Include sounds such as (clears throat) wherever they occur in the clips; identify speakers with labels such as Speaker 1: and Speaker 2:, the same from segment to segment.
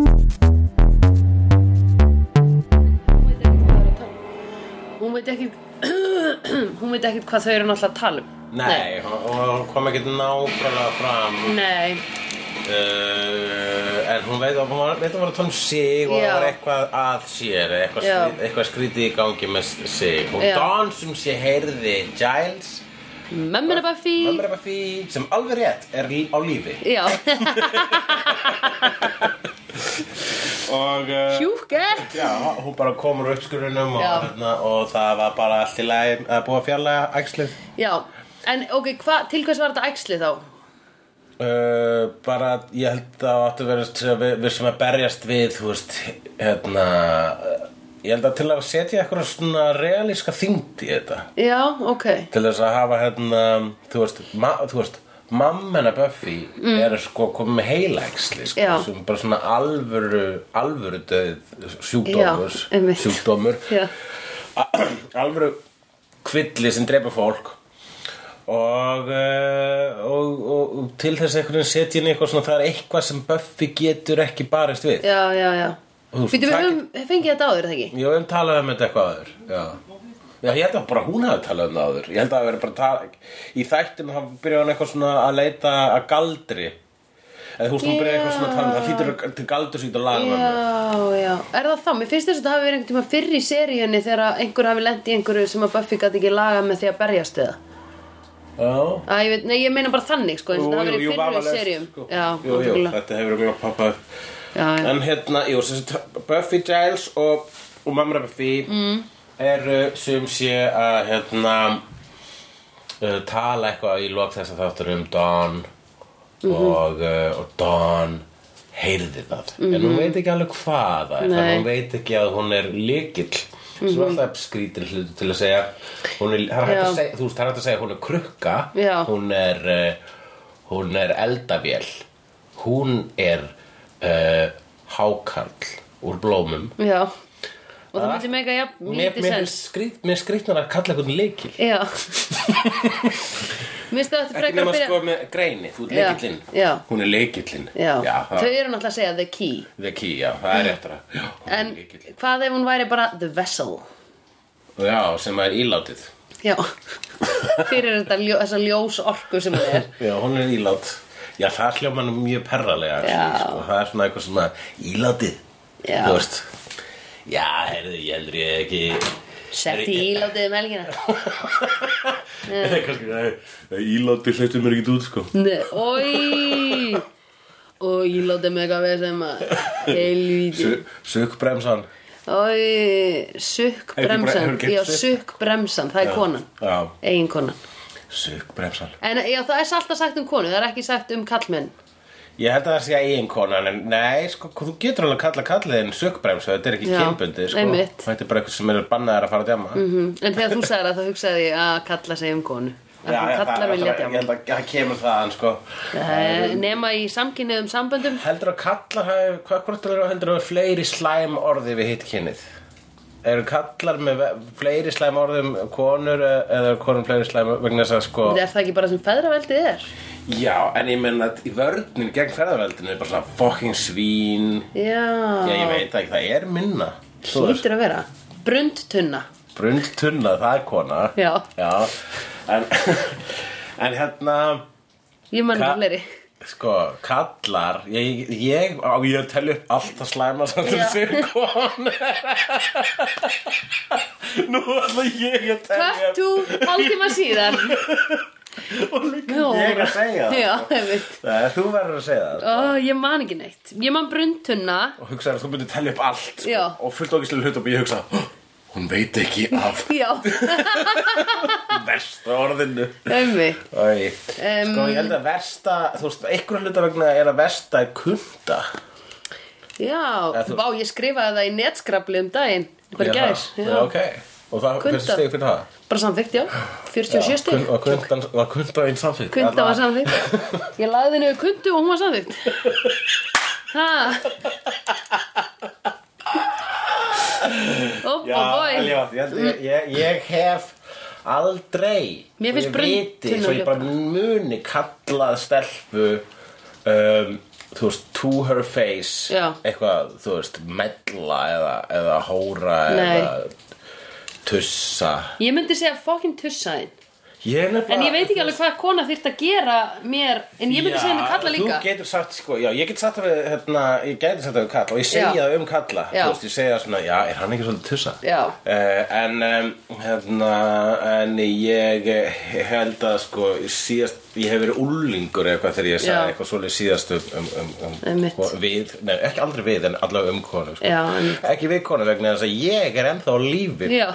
Speaker 1: um. (clears throat) hvað þau eru náttúrulega að tala um
Speaker 2: Nei, og hún kom ekkert nákvæmlega fram
Speaker 1: Nei,
Speaker 2: uh, En hún veit að hún var, veit að hún var að tala um sig Og
Speaker 1: Já.
Speaker 2: það var eitthvað að sér Eitthvað,
Speaker 1: Já.
Speaker 2: skrít, eitthvað skrítið í gangi með sig Og
Speaker 1: Já.
Speaker 2: Dawn sem sé heyrði Giles
Speaker 1: mömmina Buffy
Speaker 2: Mömmur er bara því Sem alveg rétt er lí- á lífi (laughs)
Speaker 1: Já,
Speaker 2: Og uh,
Speaker 1: hjúkert
Speaker 2: Já, hún bara komur upp skurunum og,
Speaker 1: Já.
Speaker 2: hérna, og það var bara allt í lagi að búa að fjarlæga æxlið
Speaker 1: Já, en ok, hva, til hvers var þetta æxli þá?
Speaker 2: Uh, bara, ég held að áttu að vera til að við, við sem að berjast við, þú veist, hérna, uh, ég held að til að setja eitthvað svona realíska þyngd í þetta.
Speaker 1: Já, ok
Speaker 2: Til þess að hafa, hérna, þú veist, ma, þú veist, mamma hennar Buffy er sko komið með heilæxli, sko,
Speaker 1: Mm. Já.
Speaker 2: sem bara svona alvöru, alvöru döð sjúkdómus,
Speaker 1: Já, einmitt.
Speaker 2: sjúkdómur,
Speaker 1: Já,
Speaker 2: alvöru kvilli sem drepa fólk og, uh, og, og, og til þess að einhvern veginn setja inn eitthvað svona það er eitthvað sem Buffy getur ekki barist við
Speaker 1: já, já, já
Speaker 2: Þú veist,
Speaker 1: Býtum við
Speaker 2: það-
Speaker 1: höfum, fengið þetta áður, er það ekki?
Speaker 2: Ég hefum talað um þetta eitthvað áður Já, já ég held að bara hún hafi talað um það áður Ég held að það verið bara tala Í þættum þá byrjaði hún eitthvað svona að leita að galdri Eða hún yeah. byrjaði eitthvað svona að tala um það hlýtur að- til galdur sýtt að laga mömmu.
Speaker 1: Já, já, er það þá? Mér finnst þess að þetta hafi verið einhvern tíma fyrr í seríunni þegar að einhver hafi lent í einhverju sem að Buffy gæti ekki laga með því að berjast við það
Speaker 2: Já
Speaker 1: Æ, ég veit, nei, ég meina bara þannig, sko, eins og það hafi verið fyrr í
Speaker 2: vafalaust,
Speaker 1: seríum
Speaker 2: sko.
Speaker 1: Já,
Speaker 2: Jú, jú,
Speaker 1: náttúrulega.
Speaker 2: þetta hefur ekki poppað upp
Speaker 1: já, já,
Speaker 2: En hérna, jú, sem sagt, Buffy Giles og, og Mamma Buffy mm. eru sem sé að hérna uh, tala eitthvað í lok þess að þáttur um Dawn
Speaker 1: Mhm.
Speaker 2: og, uh, og Dawn heyrði það en hún veit ekki alveg hvað það er
Speaker 1: Mhm.
Speaker 2: þannig
Speaker 1: Nei. Mhm.
Speaker 2: hún veit ekki að hún er lykill sem er alltaf skrítin hlutu til að segja hún er, það er hægt
Speaker 1: Já.
Speaker 2: að segja, þú veist, það er hægt að segja hún er krukka
Speaker 1: Já.
Speaker 2: hún er uh, hún er eldavél hún er uh, hákarl úr blómum
Speaker 1: já Og það myndi mega, já,
Speaker 2: Ah, mér,
Speaker 1: lítið
Speaker 2: mér,
Speaker 1: sens
Speaker 2: skrýt, mér skrýtnar að kalla eitthvað leikil
Speaker 1: (laughs) Já Mér finnst þetta
Speaker 2: ekki
Speaker 1: frekar
Speaker 2: nema
Speaker 1: að byrja
Speaker 2: sko með greini, þú er
Speaker 1: Já,
Speaker 2: leikillinn
Speaker 1: já.
Speaker 2: hún er leikillinn
Speaker 1: Já,
Speaker 2: það-
Speaker 1: þau eru náttúrulega að segja the key
Speaker 2: The key, já, það er réttara Já, hún er
Speaker 1: En
Speaker 2: lykillinn.
Speaker 1: hvað ef hún væri bara the vessel
Speaker 2: Já, sem er ílátið (laughs)
Speaker 1: Já Fyrir þetta ljó, þessa ljós orku sem hún er
Speaker 2: Já, hún er ílát Já, það hljóma hann mjög perralega
Speaker 1: Já.
Speaker 2: sko. Það er svona eitthvað svona ílátið
Speaker 1: Já.
Speaker 2: Þú veist Já, heyrðu, ég heldur ég ekki
Speaker 1: Sett í ílátið um helgina
Speaker 2: Það er kannski það Ílátið hleyptu mér ekki út, sko
Speaker 1: Nei, oi Og ílátið með eitthvað við sem að Helvíti
Speaker 2: Sökkbremsan
Speaker 1: Oi, sukk
Speaker 2: Hefur ekki bre-
Speaker 1: bremsan
Speaker 2: hefur ekki
Speaker 1: Já,
Speaker 2: sukk?
Speaker 1: sukk bremsan, það er konan
Speaker 2: Já,
Speaker 1: Egin konan
Speaker 2: sökkbremsan
Speaker 1: En já, það er alltaf sagt um konu, það er ekki sagt um kallmenn
Speaker 2: Ég held að það sé að eiginkonan en nei, sko, þú getur alveg að kalla kalliðin sökkbremsa, þetta er ekki
Speaker 1: Já,
Speaker 2: kynbundið, sko
Speaker 1: einmitt.
Speaker 2: Þetta er bara eitthvað sem er bannaðar að fara að djama mm.
Speaker 1: Mhm, En þegar þú sagði það þá hugsaði ég að kalla sig um konu að
Speaker 2: Já,
Speaker 1: hún
Speaker 2: já, það
Speaker 1: kallar
Speaker 2: er
Speaker 1: vilja
Speaker 2: alltaf- ég
Speaker 1: djáma
Speaker 2: held að það kemur þaðan, sko
Speaker 1: Eh, nema í samkynniðum samböndum
Speaker 2: Heldur að kallar hafi, hvað hvort er það heldur að hafi fleiri slæm orði við hitt kynnið? Eru kallar með ve- fleiri slæm orðum konur eh, eða eru konur fleiri slæm vegna þess að sko
Speaker 1: er það ekki bara sem feðraveldið er
Speaker 2: Já, en ég menn að í vörnin gegn ferðaveldinu er bara svona fucking svín Já, ég
Speaker 1: já,
Speaker 2: veit það ekki, það er minna Þú veist,
Speaker 1: hlýtur að vera brundtunna
Speaker 2: Brundtunna, það er kona
Speaker 1: já,
Speaker 2: en, (laughs) en hérna
Speaker 1: ég mann
Speaker 2: Ka-
Speaker 1: ekki fleiri
Speaker 2: Sko, kallar Ég, ég, á, ég að telja upp allt að slæma samt um
Speaker 1: Já.
Speaker 2: sig kon (laughs) Nú ætla ég að telja
Speaker 1: cut to hálftíma síðar
Speaker 2: Ég að segja það
Speaker 1: já, einmitt.
Speaker 2: Nei, þú verður að segja það
Speaker 1: Ó, ég man ekki neitt ég man brundtunna
Speaker 2: Og hugsaði að þú myndir telja upp allt sko,
Speaker 1: Já.
Speaker 2: Og fullt okkislega hlut og ég hugsa Hún veit ekki
Speaker 1: (laughs)
Speaker 2: af
Speaker 1: já,
Speaker 2: versta orðinu
Speaker 1: einmitt
Speaker 2: Æ,
Speaker 1: Em.
Speaker 2: sko ég held að versta, þú veist, einhverja hluta vegna er að versta er kunda
Speaker 1: já,
Speaker 2: Eða þú-
Speaker 1: vá, ég skrifaði það í netskrabli um daginn hver
Speaker 2: Ég það.
Speaker 1: gæs, já,
Speaker 2: Já, ok Og það,
Speaker 1: Kunda.
Speaker 2: hversu stegi fyrir það?
Speaker 1: bara samþykkt, já 47
Speaker 2: Já, kun-
Speaker 1: stig
Speaker 2: Og kundan, var kunda einn samþykkt?
Speaker 1: Kunda var
Speaker 2: Alla- (laughs)
Speaker 1: samþygt Ég lagði henni við kundu og hún var samþygt Ha
Speaker 2: Já,
Speaker 1: Oppa bói
Speaker 2: alveg, ég, held- ég, ég, ég hef aldrei
Speaker 1: Mér finnst
Speaker 2: og
Speaker 1: brunn-
Speaker 2: ég viti,
Speaker 1: tunna
Speaker 2: svo ég bara muni kallað stelpu um, þú veist, to her face
Speaker 1: Já.
Speaker 2: eitthvað, þú veist, mella eða, eða hóra
Speaker 1: Nei.
Speaker 2: eða tussa
Speaker 1: Ég myndi segja fokkin tussaðin
Speaker 2: Ég er nefnilega
Speaker 1: En ég veit ekki alveg hvað kona þyrft að gera mér En ég myndi segja henni kalla líka
Speaker 2: Þú getur sagt, sko, já, ég get sagt það við, hérna, ég gæti sagt það við kalla og ég segja
Speaker 1: Já.
Speaker 2: það um kalla,
Speaker 1: Já.
Speaker 2: þú veist, ég segja svona, já, er hann ekki svolítið tussa?
Speaker 1: Já.
Speaker 2: Eh, en, um, hérna, en ég eh, held að, sko, síðast, ég hef verið úlingur eða eitthvað þegar ég
Speaker 1: Já.
Speaker 2: sagði eitthvað svolítið síðast um, um, um, um
Speaker 1: Einmitt.
Speaker 2: ko- við, nei, ekki aldrei við, en allavega um konu, sko.
Speaker 1: Já, einmitt.
Speaker 2: Ekki við konu vegna þess að ég er ennþá á lífi.
Speaker 1: Já.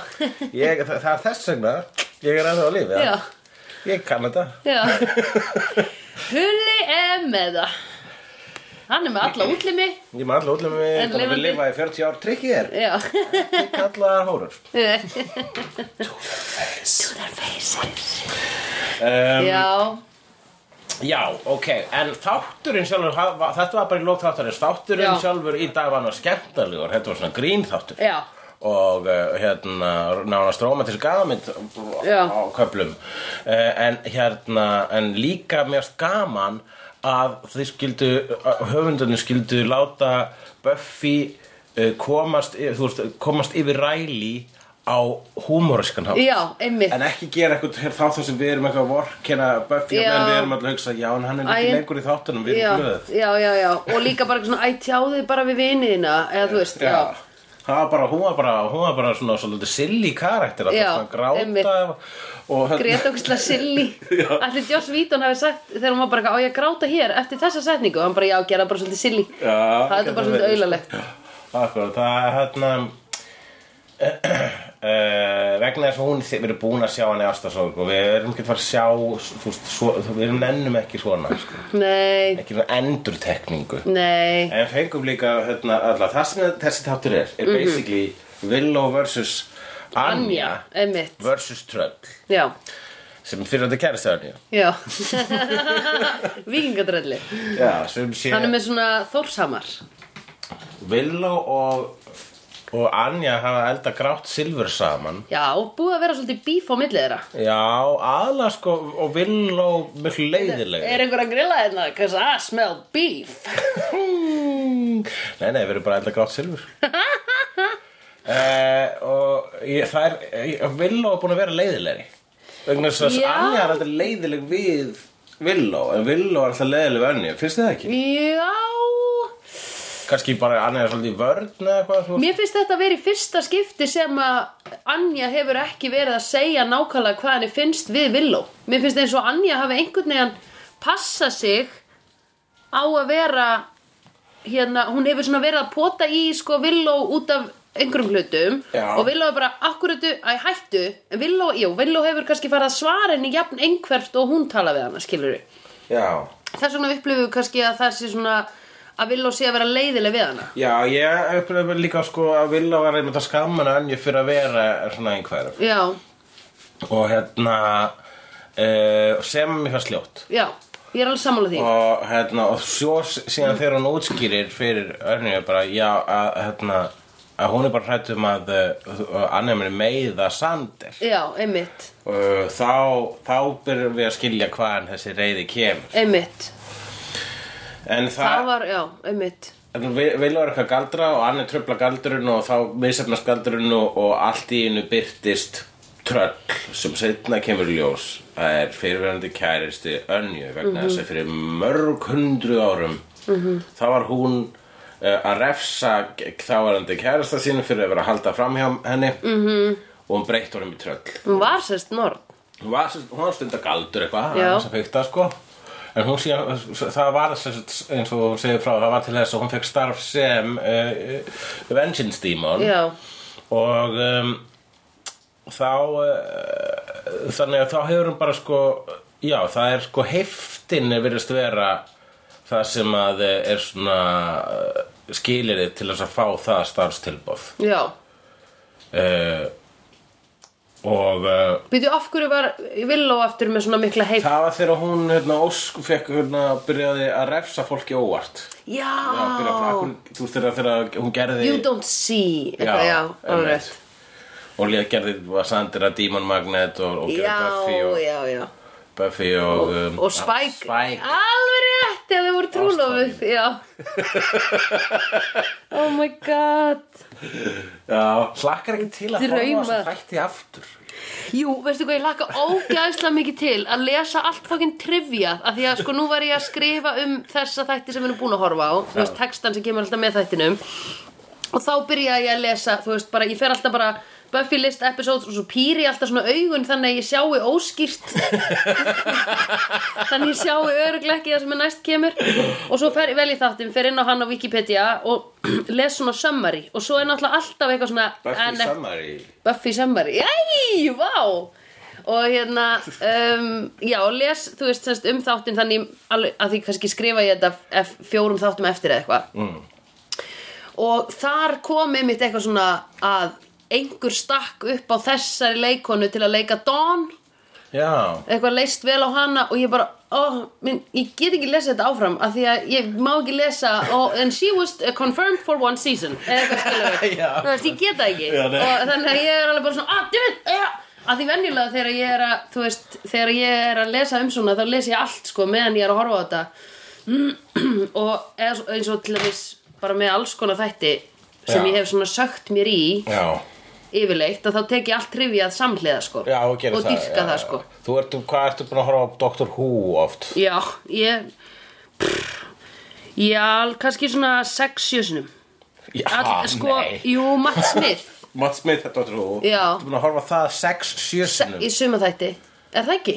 Speaker 2: Ég, það, það er þess vegna, ég er ennþá á lífi.
Speaker 1: Já.
Speaker 2: Ég
Speaker 1: (laughs)
Speaker 2: kann þetta.
Speaker 1: Já Hulli er með það Hann er með alla útlimi
Speaker 2: Ég maður alltaf útlum við
Speaker 1: En
Speaker 2: búin að við
Speaker 1: lifandi-
Speaker 2: lifa í 40 ár trikkið er
Speaker 1: Já
Speaker 2: kallaðar hórar
Speaker 1: Þar faces Ehm,
Speaker 2: um,
Speaker 1: Já
Speaker 2: (laughs) Já, ok, en þátturinn sjálfur ha- va- þetta var bara í lók þátturins þátturinn
Speaker 1: Já.
Speaker 2: sjálfur í dag var náttúrulega skemmtalegur þetta var svona grín þáttur
Speaker 1: Já
Speaker 2: og uh, hérna nána stróma til gamin
Speaker 1: Já.
Speaker 2: á köflum uh, en hérna, en líka mérst gaman að þið skildu að höfundunni skildu láta Buffy uh, komast, yfir- þú veist, komast yfir ræli á húmoriskan hátt
Speaker 1: Já, einmitt
Speaker 2: En ekki gera eitthvað þá þar sem við erum eitthvað vorkina Buffy
Speaker 1: Já.
Speaker 2: og menn við erum alltaf að hugsa já en hann er
Speaker 1: Æ,
Speaker 2: ekki
Speaker 1: en-
Speaker 2: lengur í þáttunum við
Speaker 1: Já,
Speaker 2: erum blöð
Speaker 1: já, já, já Og líka bara eitthvað svona Æ, tjáðu þig bara við viniðina Eða þú veist, já
Speaker 2: Það var bara, hún var bara, hún var bara svona svolítið silly karakter að
Speaker 1: Já,
Speaker 2: það gráta
Speaker 1: einmitt.
Speaker 2: og hérna-
Speaker 1: Grét okkur (laughs) silly
Speaker 2: Já.
Speaker 1: Allir Joss Víton hafi sagt Þegar hún var bara eitthvað Á ég að gráta hér Eftir þessa setningu Og Hann bara já, gera bara svolítið silly
Speaker 2: Já,
Speaker 1: Það er
Speaker 2: getur
Speaker 1: bara svolítið
Speaker 2: verið, sko.
Speaker 1: aulalegt
Speaker 2: Akkur, það er hérna (clears throat) uh, vegna þess að hún við erum búin að sjá hann í ástasorg og við erum ekki að fara að sjá fúst, svo, við erum nennum ekki svona sko.
Speaker 1: Nei,
Speaker 2: ekki svona endurtekningu
Speaker 1: nei
Speaker 2: En fengum líka hérna, alla, það sem þessi þáttur er
Speaker 1: Mhm.
Speaker 2: er basically Willow vs. Anja
Speaker 1: Anja, einmitt
Speaker 2: vs. Tröll
Speaker 1: Já,
Speaker 2: sem fyrir þetta kærist Anja
Speaker 1: já (laughs) Víkingadrölli
Speaker 2: Já, sem sé
Speaker 1: Hann er með svona þórshamar
Speaker 2: Willow og, og Anja hafa elda grátt silfur saman
Speaker 1: Já, búið að vera svolítið bíf á milli þeirra
Speaker 2: Já, aðla sko og Willow miklu leiðilega
Speaker 1: Er einhver að grilla þeirna? Cause I smell beef
Speaker 2: Nei, nei, við erum bara elda grátt silfur (laughs) Uh, og ég, það er ég, Villó er búin að vera leiðilegri vegna þess að
Speaker 1: Já.
Speaker 2: Anja er alltaf leiðileg við Villó en Villó er alltaf leiðileg við Anja finnst þið það ekki?
Speaker 1: Já
Speaker 2: kannski bara Anja er svolítið í vörn eða eitthvað þú-
Speaker 1: Mér finnst þetta að vera í fyrsta skipti sem að Anja hefur ekki verið að segja nákvæmlega hvað henni finnst við Villó. Mér finnst eins og Anja hafi einhvern veginn passa sig á að vera hérna, hún hefur svona verið að pota í sko Villó út af einhverjum hlutum
Speaker 2: Já.
Speaker 1: og Villó er bara akkuratu að hættu, en Villó, jú, Villó hefur kannski farið að svara henni jafn einhverft og hún tala við hana, skilur við.
Speaker 2: Já
Speaker 1: Þess vegna upplifum við kannski að það sé svona að Villó sé að vera leiðileg við hana.
Speaker 2: Já, ég upplifði líka sko að Villó var einmitt að skamma Anja fyrir að vera svona einhverf
Speaker 1: Já,
Speaker 2: og hérna uh, sem mér fannst ljótt
Speaker 1: já, ég er alveg sammála því.
Speaker 2: og hérna og svo síðan þegar hún útskýrir fyrir Örnju bara já að hérna að hún er bara hrætt um að uh, annar mér meiða Sander
Speaker 1: Já, einmitt,
Speaker 2: og þá, þá byrjum við að skilja hvaðan þessi reyði kemur
Speaker 1: einmitt
Speaker 2: en
Speaker 1: Það
Speaker 2: það,
Speaker 1: var, já, einmitt
Speaker 2: það vil vera eitthvað galdra og annar tröfla galdurinn og þá misefnast galdurinn og, og allt í einu byrtist tröll sem setna kemur í ljós það er fyrirverandi kæristi Önju vegna þess að fyrir mörg hundru árum -hmm. þá var hún uh, að refsa g- þáverandi kærasta sínu fyrir að vera að halda framhjá henni -hmm. og hún breytt honum í tröll
Speaker 1: Hún var sérst norð
Speaker 2: hún var, sem- hún var stundar galdur eitthvað
Speaker 1: Já.
Speaker 2: aðeins að fykta sko en hún síðan, það var sem sagt, eins og hún segir frá, það var til þess að hún fekk starf sem uh, vengeance demon
Speaker 1: Já,
Speaker 2: og um, þá uh, þannig að þá hefur hún bara sko já, það er sko heftin virðist vera það sem að eh, er svona skilirði til þess að fá það starfstilbóð
Speaker 1: já
Speaker 2: uh, og uh,
Speaker 1: Býtu, af hverju var Villó aftur með svona mikla heip
Speaker 2: Það var þegar hún hérna, ósk, fekk, hérna, byrjaði að refsa fólki óvart Já, byrjaði að
Speaker 1: Já
Speaker 2: hún, Þú veist þegar, þegar hún gerði
Speaker 1: You don't see Eitthvað, já, alveg
Speaker 2: einmitt.
Speaker 1: rétt
Speaker 2: Og líka gerði var Sandra Demon Magnet og, og gerði
Speaker 1: Já,
Speaker 2: Buffy og,
Speaker 1: já, já
Speaker 2: Buffy og, um,
Speaker 1: Og Spike
Speaker 2: Spike
Speaker 1: Alveg rétt, eða þau voru bara trúlofið, já
Speaker 2: (laughs)
Speaker 1: Oh my god
Speaker 2: Já, hlakkar ekki til að
Speaker 1: Drauma.
Speaker 2: horfa þess að þætti aftur
Speaker 1: Jú, veistu hvað, ég laka ógæðslega mikið til að lesa allt fokkin trivja af því að sko nú var ég að skrifa um þessa þætti sem við erum búin að horfa á þú veist, textan sem kemur alltaf með þættinum og þá byrja ég að lesa, þú veist, bara ég fer alltaf bara Buffy list episodes og svo pýri ég alltaf svona augun þannig að ég sjáu óskýrt þannig að ég sjáu öruglega ekki það sem er næst kemur og svo fer, vel ég þáttum, fer inn á hann á Wikipedia og (clears throat) les svona summary og svo er náttúrulega alltaf eitthvað svona en-
Speaker 2: Buffy Summary
Speaker 1: Buffy Summary Æj, vá Og hérna, um, já, les þú veist semst um þáttinn þannig alveg- að því kannski skrifa ég þetta ef, fjórum þáttum eftir eða eitthvað mm. og þar kom einmitt eitthvað svona að einhver stakk upp á þessari leikonu til að leika Dawn
Speaker 2: Já,
Speaker 1: eitthvað leist vel á hana og ég bara oh, minn, ég get ekki lesa þetta áfram af því að ég má ekki lesa oh, and she was confirmed for one season eða eitthvað skilur við.
Speaker 2: (laughs) Já.
Speaker 1: þú veist, ég get það ekki
Speaker 2: Já, nei.
Speaker 1: og þannig að ég er alveg bara svona ah, dammit, yeah. að því venjulega þegar ég er að þú veist, þegar ég er að lesa um svona þá les ég allt sko meðan ég er að horfa á þetta (clears throat) og eða svo- eins og til dæmis bara með alls konar þætti sem
Speaker 2: Já.
Speaker 1: ég hef svona sökt mér í
Speaker 2: já
Speaker 1: yfirleitt að þá tek ég allt trivjað samhliða sko
Speaker 2: Já, og
Speaker 1: og
Speaker 2: gera það
Speaker 1: dýrka
Speaker 2: já,
Speaker 1: það
Speaker 2: já.
Speaker 1: sko
Speaker 2: Þú ert, hvað ertu búin að horfa á Doctor Who oft?
Speaker 1: Já, ég pff, Já, kannski svona sex sjösunum
Speaker 2: Já,
Speaker 1: All, sko,
Speaker 2: nei
Speaker 1: Jú,
Speaker 2: (laughs)
Speaker 1: Matt Smith
Speaker 2: Matt Smith er Doctor Who
Speaker 1: Já.
Speaker 2: Þú ert búin að horfa á það sex, sjö
Speaker 1: se-
Speaker 2: sinnum
Speaker 1: í sumaþætti Er það ekki?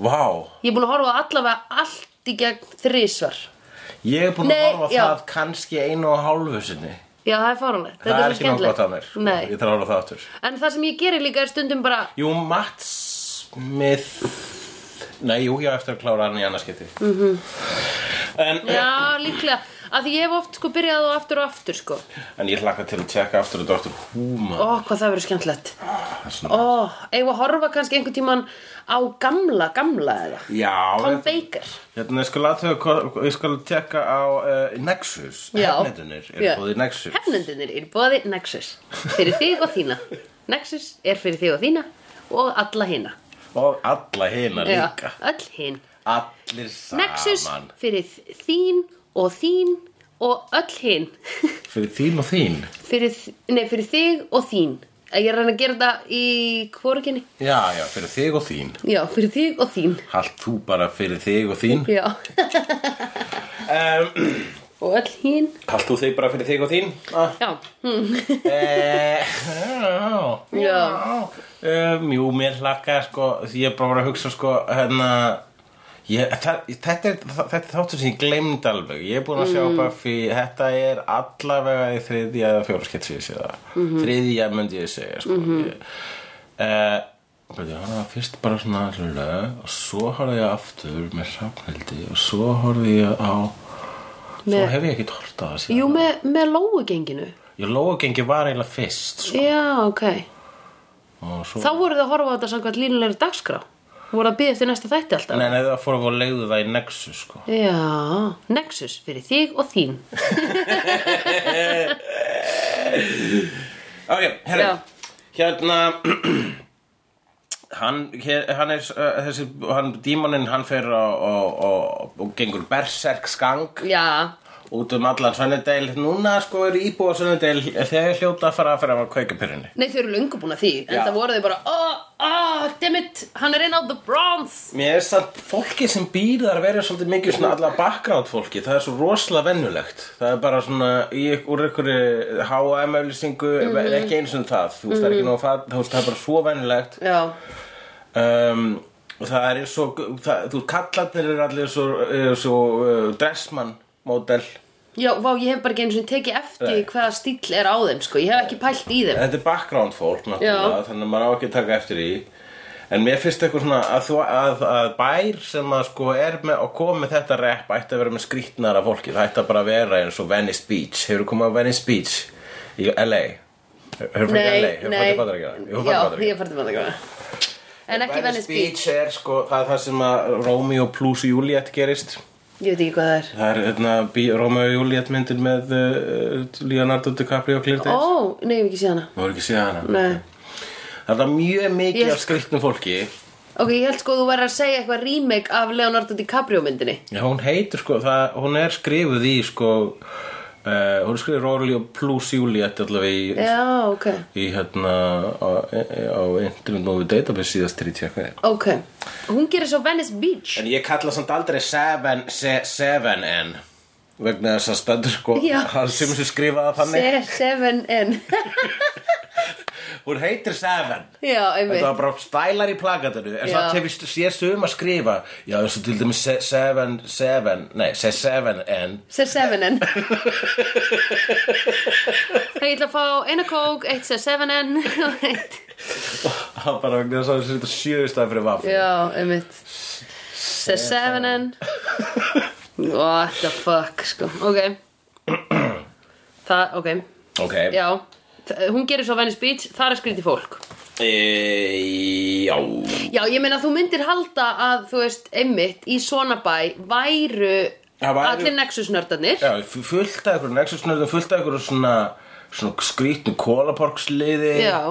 Speaker 2: Vá
Speaker 1: Ég er búin að horfa á allavega allt í gegn þrísvar
Speaker 2: Ég er búin að
Speaker 1: Nei,
Speaker 2: horfa á
Speaker 1: já.
Speaker 2: það kannski einu og hálfu sinni
Speaker 1: Já, það er fáránlegt Þetta
Speaker 2: Það er
Speaker 1: svo
Speaker 2: ekki nóg
Speaker 1: skemmtilegt.
Speaker 2: gott af mér sko. Ég
Speaker 1: Nei,
Speaker 2: þarf að horfa á það aftur
Speaker 1: en það sem ég geri líka er stundum bara
Speaker 2: Jú, Matt Smith Nei, jú, ég á eftir að klára hann í annarskipti mm
Speaker 1: Mhm.
Speaker 2: -hmm. en,
Speaker 1: Já, líklega Af því ég hef oft sko byrjað og aftur og aftur sko
Speaker 2: en ég hlakka til að tjekka aftur að Dr. Húma
Speaker 1: Ó, hvað það verður skemmtilegt
Speaker 2: oh.
Speaker 1: Ó, eigum við að horfa kannski einhvern tímann á gamla, gamla eða
Speaker 2: Já,
Speaker 1: Tom
Speaker 2: ég-
Speaker 1: Baker
Speaker 2: hérna, ég skal aðtöga hvað- Ég skal tjekka á uh, Nexus
Speaker 1: Já.
Speaker 2: Hefnendunir
Speaker 1: Já.
Speaker 2: er búið í Nexus
Speaker 1: Hefnendunir er bóði Nexus fyrir þig og þína. Nexus er fyrir þig og þína og alla hina.
Speaker 2: Og alla hina líka Ah,
Speaker 1: Öll hin.
Speaker 2: Allir saman
Speaker 1: Nexus fyrir þín og þín og öll hin. (laughs)
Speaker 2: Fyrir þín og þín
Speaker 1: fyrir, þ- nei, fyrir þig og þín. Ég er að reyna að gera þetta í kvorkinni.
Speaker 2: Já, já, fyrir þig og þín
Speaker 1: Já, fyrir þig og þín.
Speaker 2: Halt þú bara fyrir þig og þín
Speaker 1: Já,
Speaker 2: um,
Speaker 1: og öll hin.
Speaker 2: Halt þú þig bara fyrir þig og þín ah.
Speaker 1: Já, hm.
Speaker 2: Eh,
Speaker 1: Já.
Speaker 2: (laughs) já um, Jú, mér hlakka sko, því ég er bara að hugsa sko, hérna ég, það, þetta, er, þetta er þáttur sem ég glemd alveg ég er búin að sjá Buffy þetta er allavega í þriðja eða fjóra sketsi ég sé það þriðja myndi ég segja sko. mm -hmm. ég, Bæti, hann var fyrst bara svona rölu, og svo horfði ég aftur með safnildi og svo horfði ég á svo
Speaker 1: Með-
Speaker 2: hef ég ekkert hort á það síðan.
Speaker 1: Jú, með, með lóugenginu.
Speaker 2: Ég lóagengi var eiginlega fyrst sko.
Speaker 1: Já, ok.
Speaker 2: og svo...
Speaker 1: Þá voru þið að horfa á þetta samkvæmt línulegri dagskrá. Voru að byggja eftir næsta þætti alltaf.
Speaker 2: Nei, nei, það fór að leiðu það í Nexus sko.
Speaker 1: Já, Nexus fyrir þig og þín
Speaker 2: Ok, herri
Speaker 1: Já.
Speaker 2: Hérna (clears throat) Hann, hér, hann er uh, þessi, hann, dímoninn, hann fer og, og, og, og gengur berserk skang
Speaker 1: Já,
Speaker 2: út um allan Sönnedeil núna sko er íbúa Sönnedeil þegar hljóta að fara að fara að kveika pyrrinni
Speaker 1: nei þau eru löngu búin að því En
Speaker 2: Já.
Speaker 1: það voru þau bara, oh, oh, dammit Hann er inn á The Bronze
Speaker 2: Mér er samt fólki sem býr þar verið svolítið mikið svona alla background fólki það er svo rosalega vennulegt það er bara svona í, úr einhverju H&M auðlýsingu, ekki eins og það þú veist það er ekki nóg fat, þú veist það er bara svo vennulegt
Speaker 1: Já,
Speaker 2: um, og það er eins og það, þú kallarnir eru allir svo, eru svo uh, dressmann módel
Speaker 1: já, vá, ég hef bara ekki einu sinni tekið eftir nei. hvaða stíll er á þeim, sko Ég hef ekki pælt í þeim
Speaker 2: þetta er background fólk náttúrulega
Speaker 1: Já.
Speaker 2: þannig að maður á ekki að taka eftir í en mér finnst eitthvað svona að, þú, að, að bær sem að sko er með og kom með þetta rep ætti að vera með skrýtnara fólki það ætti að bara vera eins og Venice Beach hefur komið á Venice Beach í LA hefur farið í LA, hefur farið í Bandaríkjana Hefurðu farið í
Speaker 1: Já,
Speaker 2: Bandaríkjana?
Speaker 1: ég hef farið til bandaríkjana En ekki Venice Beach
Speaker 2: er sko það, er það sem að Romeo plus Juliet gerist
Speaker 1: Ég veit ekki hvað það er
Speaker 2: Það er hérna, bí- Romeo og Juliet myndir með uh, Leonardo DiCaprio og Claire
Speaker 1: Ó,
Speaker 2: Danes.
Speaker 1: nei, ég hef ekki séð hana
Speaker 2: Má er ekki séð hana.
Speaker 1: Nei,
Speaker 2: Það er það mjög mikið
Speaker 1: Ég-
Speaker 2: af skrýtnum fólki.
Speaker 1: ó, Ok, ég held sko að þú verður að segja eitthvað remake af Leonardo DiCaprio myndinni
Speaker 2: Já, hún heitir sko, það, hún er skrifuð í sko uh, Hún er skrifuð Róli og Plus Juliet allavega í,
Speaker 1: Já, ok
Speaker 2: í hérna á, e, á Internet Movie Database síðast til ég tjekka þér
Speaker 1: Ok, hún gerir svo Venice Beach
Speaker 2: En ég kalla samt aldrei 7N se, 7N vegna þess að stendur sko
Speaker 1: Já.
Speaker 2: hann sem sem skrifaði það þannig
Speaker 1: Se- Seven N
Speaker 2: hún heitir 7
Speaker 1: (laughs) Já, einmitt
Speaker 2: Þetta var bara stælar í plakatinu En
Speaker 1: Já.
Speaker 2: samt hefur séð sögum að skrifa Já, eins og til dæmis 7, 7 Nei, se 7 en
Speaker 1: Se Seven
Speaker 2: (laughs)
Speaker 1: N Ég ætla að fá eina kók, eitt se Seven N og eitt
Speaker 2: Það var bara vegna þess að þetta sjöðustæð fyrir vaff
Speaker 1: (laughs) Já, einmitt Se Seven N What the fuck, sko
Speaker 2: (clears throat)
Speaker 1: Ok Það, ok,
Speaker 2: Ok
Speaker 1: já Þ- Hún gerir svo Venice Beach, þar er skrítið fólk
Speaker 2: E, já
Speaker 1: Já, ég meina þú myndir halda að, þú veist, einmitt í svona bæ væru
Speaker 2: Það væru-
Speaker 1: allir nexusnördarnir
Speaker 2: Já, fu- fullt af ykkur nexusnöðum, fullt af ykkur svona, svona skrýtnu kólaporksliði
Speaker 1: Já.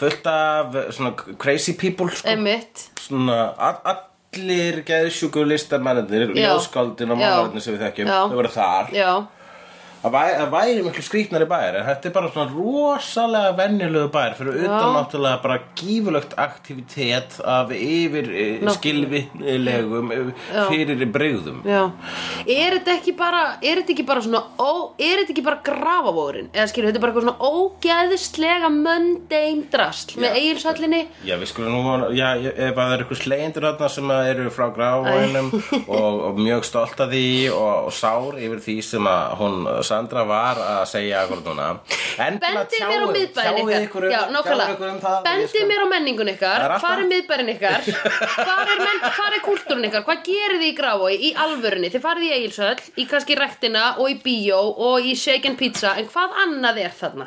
Speaker 2: Fullt af eh, svona crazy people sko.
Speaker 1: einmitt
Speaker 2: Svona a- allir geðsjúku listamennir
Speaker 1: Já.
Speaker 2: Ljóðskáldin og
Speaker 1: Já.
Speaker 2: málarnir sem við þekkjum
Speaker 1: Já.
Speaker 2: Þau voru þar
Speaker 1: Já,
Speaker 2: Það væ- það væri miklu skrýtnari bæir en þetta er bara svona rosalega venjulegu bæir fyrir utan náttúrulega bara gífulegt aktivitet af yfir
Speaker 1: Ná-
Speaker 2: skilvinnilegum fyrir breyðum.
Speaker 1: já Er þetta ekki bara, er þetta ekki bara svona ó, er þetta ekki bara grafavórin eða skilur, þetta er bara eitthvað svona ógæðislega möndein drasl með
Speaker 2: Já.
Speaker 1: eigilsallinni
Speaker 2: Já, við skulum nú, vona- já, ég- ef að það eru eitthvað slegjendur þarna sem að eru frá gráinum
Speaker 1: (laughs)
Speaker 2: og, og mjög stolt af því og, og sár yfir því sem að hún, Sandra, var að segja akkur núna. Endilega
Speaker 1: Bendið mér á
Speaker 2: tjáið-
Speaker 1: miðbærin
Speaker 2: tjáið ykkur
Speaker 1: ykkar Já,
Speaker 2: um- tjáið ykkur
Speaker 1: nákvæmlega
Speaker 2: um það, ég
Speaker 1: Bendið
Speaker 2: skal-
Speaker 1: mér á menningun ykkar
Speaker 2: Það er alltaf-
Speaker 1: Hvar er miðbærin
Speaker 2: (laughs)
Speaker 1: ykkar Hvar er, menn, hvar er kultúrin ykkar Hvað gerir þið í gráfói í alvörunni Þið farið í Egilsöll Í kannski rektina og í bíó Og í shaken pizza En hvað annað er þarna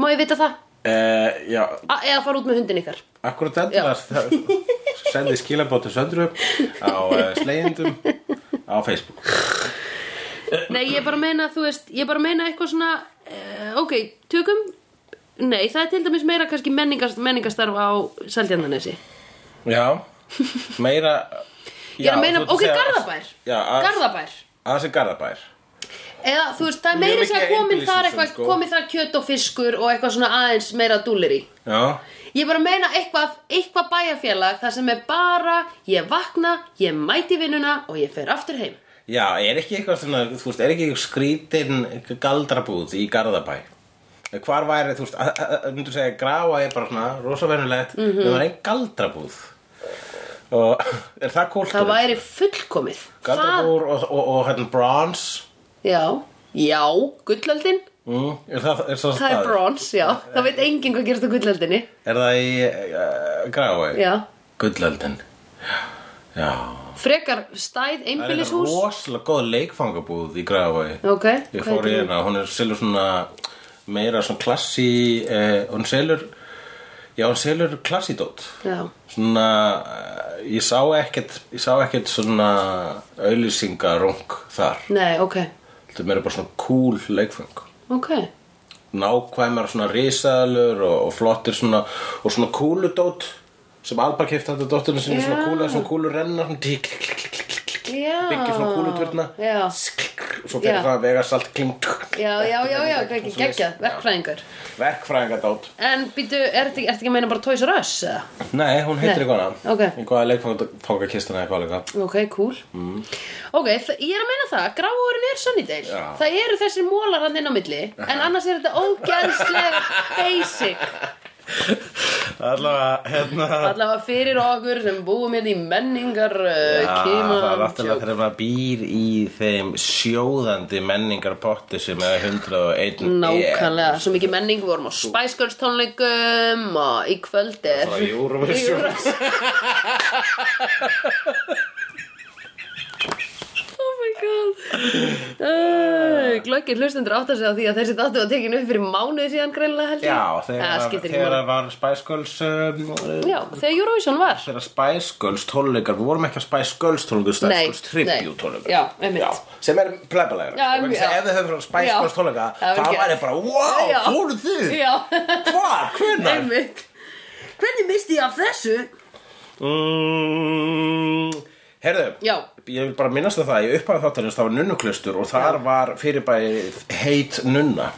Speaker 1: Má ég vita það
Speaker 2: Eh, já,
Speaker 1: A Eða fara út með hundin ykkar
Speaker 2: Akkurat endilega það- sendið skilabóti söndru á uh, slegjendum á Facebook
Speaker 1: Nei, ég bara meina, þú veist, ég bara meina eitthvað svona, uh, ok, tökum, nei, það er til dæmis meira kannski menningast, menningastarf á Seltjarnanesi.
Speaker 2: Já, meira
Speaker 1: Ég er að meina,
Speaker 2: þú ert
Speaker 1: ok,
Speaker 2: segja-
Speaker 1: Garðabær,
Speaker 2: Já, að-
Speaker 1: Garðabær.
Speaker 2: aðeins er Garðabær
Speaker 1: Eða, þú veist, það er
Speaker 2: Mjög
Speaker 1: meira
Speaker 2: mikið
Speaker 1: sem að komið
Speaker 2: einbýlishúsum,
Speaker 1: þar eitthvað,
Speaker 2: sko.
Speaker 1: komið þar kjöt og fiskur og eitthvað svona aðeins meira dúlir í.
Speaker 2: Já,
Speaker 1: Ég bara meina eitthvað, eitthvað bæjarfélag, það sem er bara, ég vakna, ég mæti vinnuna og ég fer aftur heim.
Speaker 2: já, er ekki eitthvað svona, þú veist, er ekki eitthvað skrítin galdrabúð í Garðabæ Eh, Hvar væri, þú veist, að- að- að- myndu segja gráa er bara svona rosavennulegt
Speaker 1: Mhm.
Speaker 2: mm -hmm. það var einn galdrabúð og (laughs) er það kúltúr?
Speaker 1: Það væri fullkomið. Það,
Speaker 2: Galdrabúr og, og, og hérna bronze
Speaker 1: já, já, gullöldin,
Speaker 2: Mm, er það, er
Speaker 1: það
Speaker 2: það,
Speaker 1: er
Speaker 2: staður?
Speaker 1: brons, já, það veit enginn hvað gerist á gullöldinni.
Speaker 2: Er það í uh, Grávei?
Speaker 1: Já,
Speaker 2: Gullöldin Já
Speaker 1: frekar stæð
Speaker 2: Það er þetta
Speaker 1: einbýlishús
Speaker 2: rosalega góð leikfangabúð í Grávei
Speaker 1: Ok,
Speaker 2: Ég
Speaker 1: hvað
Speaker 2: fór í
Speaker 1: heitir hún?
Speaker 2: hérna, hún er selur svona meira svona klassi eh, hún selur já, hún selur klassidót
Speaker 1: Já,
Speaker 2: svona, eh, ég sá ekkert ég sá ekkert svona auðlýsingarung þar
Speaker 1: nei, ok,
Speaker 2: þetta er meira bara svona cool leikfang
Speaker 1: ok
Speaker 2: nákvæmar svona risaðalur og, og flottir svona og svona kúludót sem Alba kefti þetta dótturinn sinni svona
Speaker 1: Já.
Speaker 2: kúla, svona kúlur renna svona tík, klik, klik, klik, klik, klik,
Speaker 1: Já.
Speaker 2: byggja svona kúluturna
Speaker 1: Ah, Já.
Speaker 2: og svo
Speaker 1: Já.
Speaker 2: fyrir það að vega salt kling tuk,
Speaker 1: Já, já, já, já,
Speaker 2: Svona
Speaker 1: ekki
Speaker 2: svoleiðis.
Speaker 1: geggjað, verkfræðingar
Speaker 2: verkfræðingadót
Speaker 1: En býtu, er þetta ertu ekki að meina bara Toys R Us? eða?
Speaker 2: nei, hún
Speaker 1: Nei.
Speaker 2: heitir eitthvað annað
Speaker 1: Ok.
Speaker 2: eitthvað leikfangakistan eða eitthvað líka
Speaker 1: Ok, cool Ok, þ- ég er að meina það, gráðurinn er Sunnydale
Speaker 2: Mm. Já.
Speaker 1: Það eru þessir mólar hann inn á milli En annars er þetta
Speaker 2: (laughs)
Speaker 1: ógeðslega basic
Speaker 2: allavega, hérna
Speaker 1: Allavega fyrir okkur sem búum hérna í menningar uh,
Speaker 2: Já,
Speaker 1: kima,
Speaker 2: það er hérna afturlega þegar maður býr í þeim sjóðandi menningarpotti sem er 101
Speaker 1: Nákvæmlega, svo mikið menning, við vorum á Spice Girls tónleikum og í kvöld er
Speaker 2: Frá Eurovision.
Speaker 1: (laughs) Oh my god uh, Glöggir hlustendur átt að segja á því að þessi dátu var tekin upp fyrir mánuði síðan greinlega held ég
Speaker 2: Já,
Speaker 1: Eh,
Speaker 2: þegar,
Speaker 1: skiptir ekki
Speaker 2: þegar
Speaker 1: máli.
Speaker 2: var Spice Girls um, uh,
Speaker 1: Já, þegar Eurovision var
Speaker 2: þegar Spice Girls tónleikar við vorum ekki að Spice Girls tónleikar Spice
Speaker 1: Nei,
Speaker 2: Girls tribute
Speaker 1: nei.
Speaker 2: tónleikar
Speaker 1: Já, einmitt.
Speaker 2: sem er plebalegra
Speaker 1: Já,
Speaker 2: sko, vegna þess að
Speaker 1: já.
Speaker 2: ef við höfum frá Spice
Speaker 1: Já.
Speaker 2: Girls tónleika
Speaker 1: Það
Speaker 2: það
Speaker 1: væri
Speaker 2: væri bara, wow,
Speaker 1: Já.
Speaker 2: fóruð þið
Speaker 1: Já,
Speaker 2: hvað, hvenær
Speaker 1: einmitt Hvernig misti ég af þessu?
Speaker 2: Mm, Herðu,
Speaker 1: Já.
Speaker 2: ég vil bara minnast að það, ég uppáði þáttarins, það var nunnuklustur og þar var fyrirbæðið heit nunna.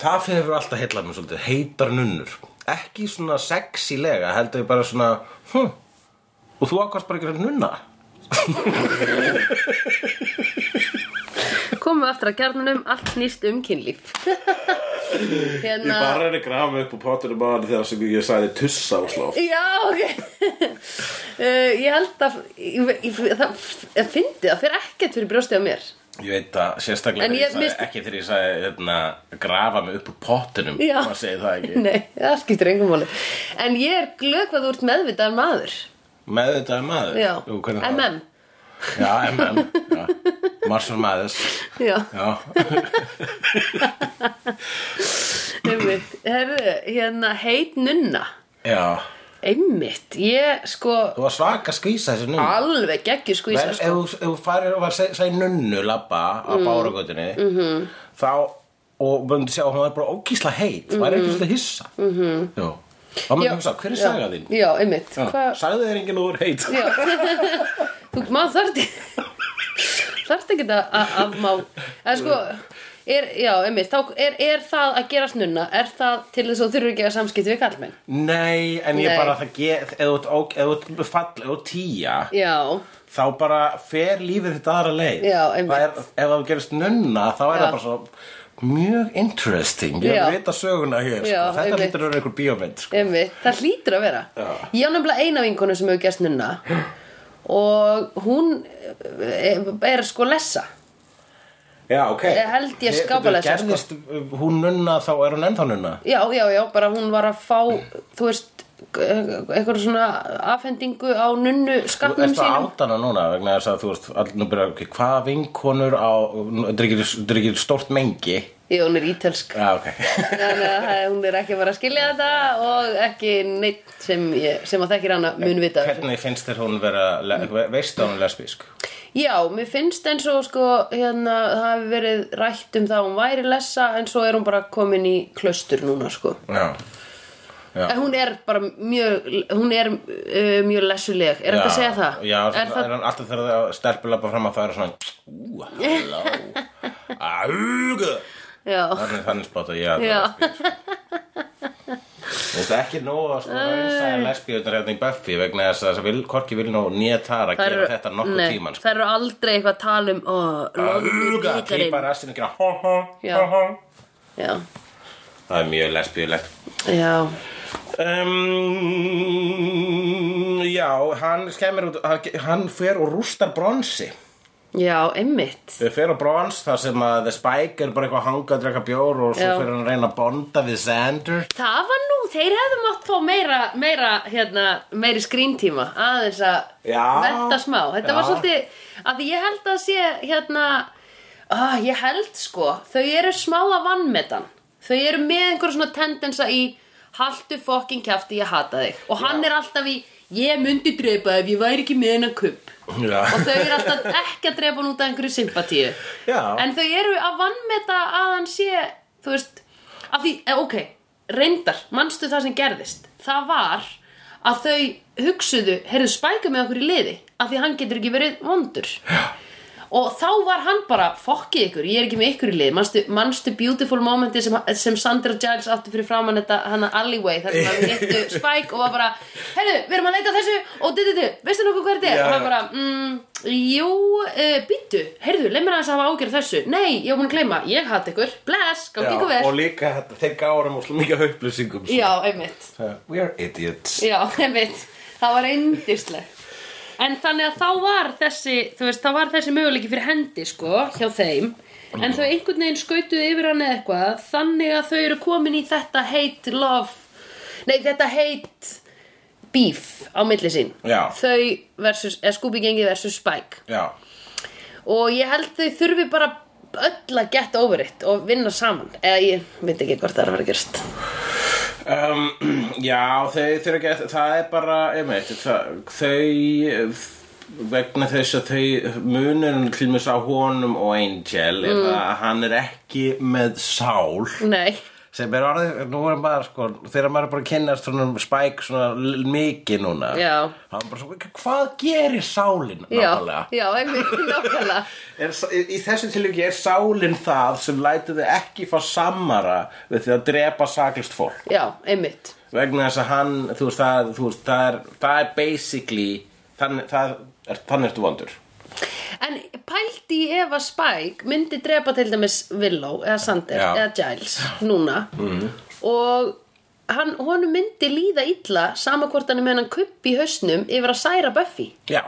Speaker 2: Það fyrir alltaf heillað mér svolítið, heitar nunnur. Ekki svona sexylega, heldur ég bara svona, hm, og þú ákvæmst bara að gera nunna.
Speaker 1: komum við aftur að kjarnunum allt nýst um
Speaker 2: (laughs)
Speaker 1: kynlíf hérna
Speaker 2: er að grafa upp úr pottunum aðan þegar sem ég sagði tussa og slá.
Speaker 1: já ok (laughs) uh, ég held að ég, ég, það, ég fyndi það fyrir ekkert fyrir brjóstið á mér
Speaker 2: Ég veit að sérstaklega
Speaker 1: En
Speaker 2: þegar
Speaker 1: ég
Speaker 2: ég sagði,
Speaker 1: mist-
Speaker 2: ekki þegar ég sagði hérna, grafa mig upp úr pottunum,
Speaker 1: Já.
Speaker 2: maður segi það
Speaker 1: (laughs)
Speaker 2: ekki.
Speaker 1: nei, það skiptir engum máli en ég er glöð hvað þú ert meðvitaðan maður
Speaker 2: Með þetta er maður.
Speaker 1: já,
Speaker 2: Jú, hvernig það?
Speaker 1: MM
Speaker 2: Já, MM já. Marshall Mathers
Speaker 1: já,
Speaker 2: Já,
Speaker 1: einmitt herðu, hérna, heit nunna
Speaker 2: já
Speaker 1: einmitt, ég sko
Speaker 2: Þú var svaka skvísa þessi nunnu
Speaker 1: alveg sko, geggjur
Speaker 2: Vel,
Speaker 1: skvísa
Speaker 2: ef, þú- ef þú farir og var að segja nunnu labba á mm. bárugötunni
Speaker 1: Mhm.
Speaker 2: -hmm. þá og myndi sjá að hún var bara ógísla heit mm -hmm. var ekki svolítið hissa mm -hmm. Jú, þá
Speaker 1: Mhm.
Speaker 2: myndi
Speaker 1: Já.
Speaker 2: hugsa, hver er saga þín?
Speaker 1: já, einmitt,
Speaker 2: Já.
Speaker 1: hvað
Speaker 2: Sagði þér enginn úr heit
Speaker 1: Já Þú maður þarft þarft ekki að að- að má eða sko er, já, einmitt, þá er, er það að gerast nunna er það til þess að þú þurfur ekki að samskipti við kallmenn
Speaker 2: Nei, en ég
Speaker 1: Nei.
Speaker 2: bara það get ef þú ert óg- ef þú ert fall og tíja
Speaker 1: já,
Speaker 2: þá bara fer lífið þetta aðra leið
Speaker 1: Já, einmitt.
Speaker 2: það er, ef það gerist nunna þá er
Speaker 1: Já.
Speaker 2: það bara svo mjög interesting ég
Speaker 1: Já.
Speaker 2: vil vita söguna
Speaker 1: Já,
Speaker 2: hér sko. þetta
Speaker 1: einmitt.
Speaker 2: lítur að vera einhver bíómynd sko.
Speaker 1: einmitt, það hlýtur að vera
Speaker 2: Já.
Speaker 1: ég á nefnilega eina vinkonu sem hefur gerst nunna og hún er, er sko lessa
Speaker 2: já, ok
Speaker 1: Ég Eh, held ég sko.
Speaker 2: Þið-
Speaker 1: skápalega
Speaker 2: þið
Speaker 1: sér,
Speaker 2: gerðist uh, hún nunna þá er hún ennþá nunna
Speaker 1: já, já, já, bara hún var að fá þú veist eh, eitthvað svona afhendingu á nunnu
Speaker 2: Þú
Speaker 1: skapnum
Speaker 2: ert að
Speaker 1: sínum
Speaker 2: átana núna vegna þess að þú veist all, nú byrja, okay, hvaða vinkonur á drikir, drikir stórt mengi
Speaker 1: já, hún er ítelsk
Speaker 2: já, ok
Speaker 1: Þannig að það- hún er ekki bara að skilja þetta og ekki neitt sem, ég, sem að þekkir hana mun vita.
Speaker 2: hvernig finnst þér hún vera le- ve- veistu að hún er lesbísk
Speaker 1: Já, mér finnst eins og sko, hérna, það hefur verið rætt um það að hún væri lessa en svo er hún bara komin í klaustur núna sko.
Speaker 2: já Já.
Speaker 1: En hún er bara mjög, hún er uh, mjög lessuleg, er þetta að segja það?
Speaker 2: Já,
Speaker 1: er
Speaker 2: svona,
Speaker 1: það,
Speaker 2: er hann alltaf þegar það stelpur lappa fram að það er svona Ú, halló Ægðu
Speaker 1: já,
Speaker 2: Þannig þannig spátt að ég að
Speaker 1: Já.
Speaker 2: Þetta er sko. ekki nóg að sko raunsæja lesbíunar hérna í Buffy vegna þess að þess að vil, Korki vil nú nýja tara
Speaker 1: það
Speaker 2: gera þetta nokkuð
Speaker 1: nei,
Speaker 2: tíman sko.
Speaker 1: það eru aldrei eitthvað að tala um, ó, loðnu
Speaker 2: Ægðu, klípa
Speaker 1: bíkarinn.
Speaker 2: rastin og gera hó, hó,
Speaker 1: Já.
Speaker 2: hó, hó
Speaker 1: Já,
Speaker 2: Það er mjög lesbíulegt
Speaker 1: já,
Speaker 2: um, Já, hann skemmir út hann, hann fer og rústar bronsi
Speaker 1: já, einmitt,
Speaker 2: Þau fer á brons þar sem að The Spike er bara eitthvað að hanga að draka bjór og svo
Speaker 1: Já.
Speaker 2: fer hann að reyna að bonda við Xander
Speaker 1: Það var nú, þeir hefðu mátt fá meira, meira, hérna, meiri skríntíma aðeins að
Speaker 2: Já.
Speaker 1: velta smá. Þetta
Speaker 2: Já.
Speaker 1: var svolítið, að því ég held að sé, hérna, ah, ég held sko, þau eru smá að vannmetan. Þau eru með einhver svona tendensa í, haltu fokkin kjafti, ég hata þig. Og hann er alltaf í, ég myndi drepa ef ég væri ekki með hennar kupp. Og
Speaker 2: Já,
Speaker 1: þau eru alltaf ekki að drepa hann út af einhverju sympatíu.
Speaker 2: já,
Speaker 1: En þau eru að vannmeta að hann sé, þú veist, að því, eh, ok, reyndar, manstu það sem gerðist? Það var að þau hugsuðu, heyrðu spæka með okkur í liði, að því hann getur ekki verið vondur. Já. Og þá var hann bara, fokkið ykkur, ég er ekki með ykkur í liði, manstu, manstu beautiful momenti sem, sem Sandra Giles átti fyrir framann þetta hana alleyway, þar sem hann
Speaker 2: (laughs)
Speaker 1: hittu Spike og var bara, heyrðu, við erum að leita að þessu og du, du, du, veistu nokkuð hvað þetta er?
Speaker 2: Já.
Speaker 1: Og hann bara, mm, jú, uh, býttu, heyrðu, leið mér aðeins að hafa ágjörð þessu. Nei, ég var búin að gleyma, ég hatt ykkur, bless, gangi ykkur
Speaker 2: og
Speaker 1: vel.
Speaker 2: líka þetta, þeir gárum og svo mikið upplýsingum
Speaker 1: Já, einmitt,
Speaker 2: Uh, We are idiots
Speaker 1: já, (laughs) einmitt, það var eindislegt. En þannig að þá var þessi, þú veist, þá var þessi möguleiki fyrir hendi, sko, hjá þeim. En þau einhvern veginn skautuðu yfir hann eða eitthvað, þannig að þau eru komin í þetta hate love, nei, þetta hate beef á milli sín.
Speaker 2: Já.
Speaker 1: Þau versus, eða Scooby gengi versus Spike.
Speaker 2: Já,
Speaker 1: og ég held þau þurfi bara öll að get over it og vinna saman eða ég veit ekki hvort það er að vera gerst
Speaker 2: um, já þau þurfa ekki að, það er bara, ég meit, það, þau vegna þess að þau munurinn til
Speaker 1: Mm.
Speaker 2: mér sá honum og Angel er það að hann er ekki með sál
Speaker 1: nei,
Speaker 2: sem er orðið, nú er maður sko þegar maður er bara að kynnast svona spæk svona l- mikið núna
Speaker 1: Já.
Speaker 2: hann bara svo, hvað gerir sálin nákvæmlega?
Speaker 1: Já, já, einmitt, (laughs) nákvæmlega
Speaker 2: Er, í, í þessu tilvíki er sálin það sem lætur þið ekki fá samara við því að drepa saklist fólk
Speaker 1: Já, einmitt
Speaker 2: vegna þess að hann, þú veist, það, þú veist, það, er, það er basically þann, það er, þannig ertu vondur
Speaker 1: En pældi í ef að Spike myndi drepa til dæmis Willow eða Sander
Speaker 2: Já.
Speaker 1: eða Giles núna og hann, honum myndi líða illa sama hvort hann er með hann kupp í hausnum yfir að særa Buffy
Speaker 2: Já,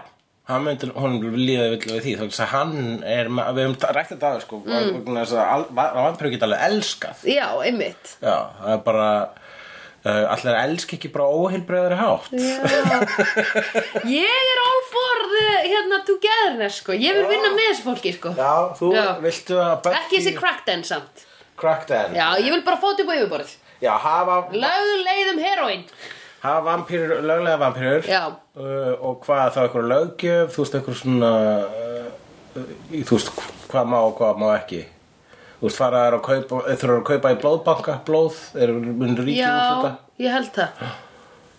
Speaker 2: hann myndi, hún líða vill við því þannig að hann er, ma- við höfum rækt þetta aðeins sko, mm. vegna þess að vampirur geta alveg elskað
Speaker 1: Já, einmitt
Speaker 2: Já, það er bara uh, allir elski ekki bara óheilbröðari hátt
Speaker 1: Já.
Speaker 2: (laughs)
Speaker 1: Ég er all for the, hérna togetherness sko, ég vil vinna með þessu fólki sko
Speaker 2: Já, þú
Speaker 1: Já.
Speaker 2: viltu að Buffy
Speaker 1: Ekki þessi crackdown samt
Speaker 2: crack den
Speaker 1: Já, ég vil bara fóta upp á yfirborðið
Speaker 2: Já, hafa,
Speaker 1: Lögðu leiðum heroin
Speaker 2: hafa vampirur, löglega vampirur
Speaker 1: Já.
Speaker 2: uh, og hvað þá einhver löggjöf þú veist einhver svona uh, uh, þú veist hvað má og hvað má ekki þú veist fara þær að kaupa þurfa að kaupa í blóðbanka, blóð er mun ríkið
Speaker 1: Já,
Speaker 2: út
Speaker 1: ég held það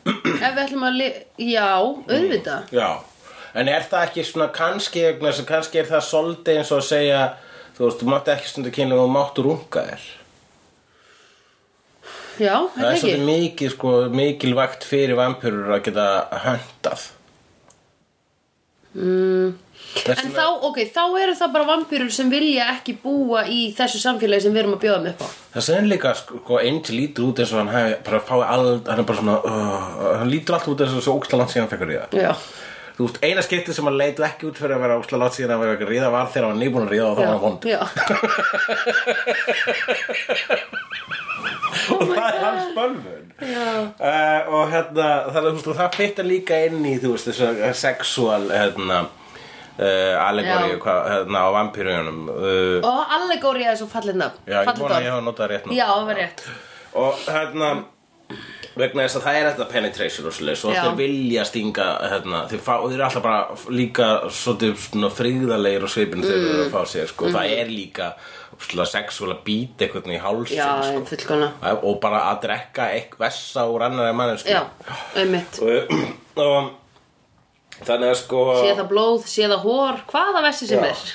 Speaker 1: Ef við ætlum að li... Já, auðvitað
Speaker 2: þetta Já, en er það ekki svona kannski, vegna þess að kannski er það svolítið eins og að segja þú veist, þú mátt ekki stundu kynlega og þú mátt runga þér
Speaker 1: Já,
Speaker 2: það
Speaker 1: held
Speaker 2: er
Speaker 1: ekki
Speaker 2: svolítið mikið sko, mikilvægt fyrir vampirur að geta höndað mm.
Speaker 1: En þá, ok, þá eru það bara vampýrur sem vilja ekki búa í þessu samfélagi sem við erum að bjóða með upp á
Speaker 2: Það segir líka sko Angel lítur út eins og hann hefði bara fáið allt, hann er bara svona, uh, hann lítur allt út eins og svo óksla langt síðan hann fekk að ríða.
Speaker 1: Já,
Speaker 2: Þú veist, eina skiptið sem hann leitur ekki út fyrir að vera óksla langt síðan hann fekk að ríða var þegar hann var nýbúin að ríða og þá
Speaker 1: já,
Speaker 2: var hann vond. (laughs)
Speaker 1: já
Speaker 2: og það
Speaker 1: Oh
Speaker 2: er hans bölvun. Uh, og hérna, það, er, þú veist, og það fyrta líka inn í, þú veist, þessu sexual, hérna, uh,
Speaker 1: Já.
Speaker 2: allegoríu, hvað, hérna, á vampýrunum. Uh,
Speaker 1: Og allegóriða er svo fallið nafn
Speaker 2: já, ég
Speaker 1: fallið
Speaker 2: vona
Speaker 1: orð.
Speaker 2: að ég hafa notað rétt nú.
Speaker 1: Já, það var rétt
Speaker 2: og hérna vegna þess að það er þetta penetration og svoleiðis og
Speaker 1: Já.
Speaker 2: þeir vilja stinga hérna, þeir, fá, þeir eru alltaf bara líka svolítið svona friðalegir og svipin þegar þeir
Speaker 1: Mm.
Speaker 2: eru að fá sér sko. það er líka svona sexuál að býta einhvern í hálsin
Speaker 1: Já,
Speaker 2: sko.
Speaker 1: fullkona
Speaker 2: og bara að drekka eitthvað vessa úr annari mann sko.
Speaker 1: Já, einmitt
Speaker 2: og, (clears throat) og þannig að sko
Speaker 1: Sé það blóð, sé það hór, hvaða vessi sem
Speaker 2: Já.
Speaker 1: er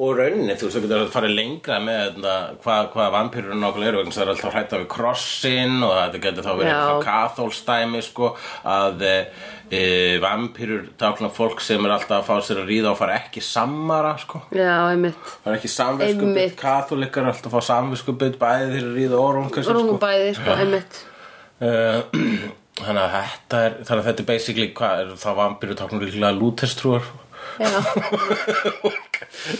Speaker 2: og rauninni, þú veist, þú getur að fara lengra með þetta, hvað, hvað vampýrur nokkuð eru, vegna þess að það er alltaf hrætt af krossin og þetta getur þá verið
Speaker 1: Já.
Speaker 2: eitthvað kathólstæmi, sko, að e, e, vampýrur tákna fólk sem er alltaf að fá sér að ríða og fara ekki sammara, sko.
Speaker 1: Já, einmitt
Speaker 2: Það er ekki samvegskupið,
Speaker 1: Einmitt.
Speaker 2: katholikar er alltaf að fá samvegskupið, bæði þeir að ríða og runga sér,
Speaker 1: Rungum
Speaker 2: sko.
Speaker 1: bæði, sko, einmitt
Speaker 2: Eh, (clears throat) Þannig að þetta er, þannig að þetta er basically, hvað er það vampýrur tákna líklega (laughs) lútestrúar?
Speaker 1: Já,
Speaker 2: (laughs)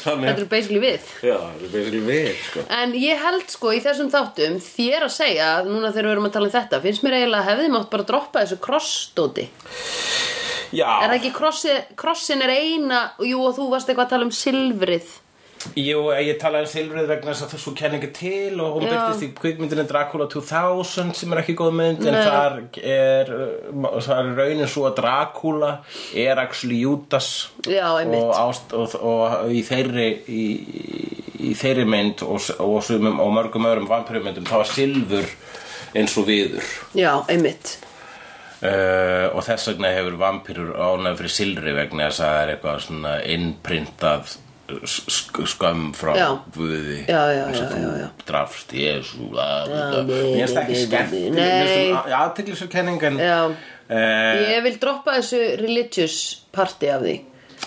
Speaker 2: Þannig,
Speaker 1: þetta er basically við
Speaker 2: já, það er basically við, sko.
Speaker 1: En ég held sko í þessum þáttum þér að segja, núna þegar við erum að tala um þetta finnst mér eiginlega að hefði mátt bara droppa þessu krossdóti.
Speaker 2: Já.
Speaker 1: Er það ekki krossi, krossin er eina jú og þú varst eitthvað að tala um silfrið
Speaker 2: Jú, ég talaði um Silfrið vegna þess að þessu kenningi til og hún
Speaker 1: Já.
Speaker 2: byrtist í kvikmyndinni Dracula 2000 sem er ekki góð mynd en
Speaker 1: Nei.
Speaker 2: þar er, uh, þar er raunin svo að Dracula er actually Judas
Speaker 1: Já,
Speaker 2: og,
Speaker 1: einmitt.
Speaker 2: ást, og, og í þeirri í, í þeirri mynd og, s- og, sumum, og mörgum öðrum vampirumyndum þá er Silfur eins og viður
Speaker 1: Já, einmitt.
Speaker 2: Uh, og þess vegna hefur vampýrur ánægð fyrir silri vegna þess að það er eitthvað svona innprintað sk skömm frá
Speaker 1: Já.
Speaker 2: Guði
Speaker 1: Já, já,
Speaker 2: eins og
Speaker 1: já,
Speaker 2: þú
Speaker 1: já, já.
Speaker 2: drafst Jésu mér
Speaker 1: nei,
Speaker 2: finnst það ekki
Speaker 1: nei,
Speaker 2: skemmt
Speaker 1: nei,
Speaker 2: mér
Speaker 1: nei.
Speaker 2: finnst það aðteglisur kenning en
Speaker 1: Já.
Speaker 2: Eh,
Speaker 1: Ég vil droppa þessu religious parti af því.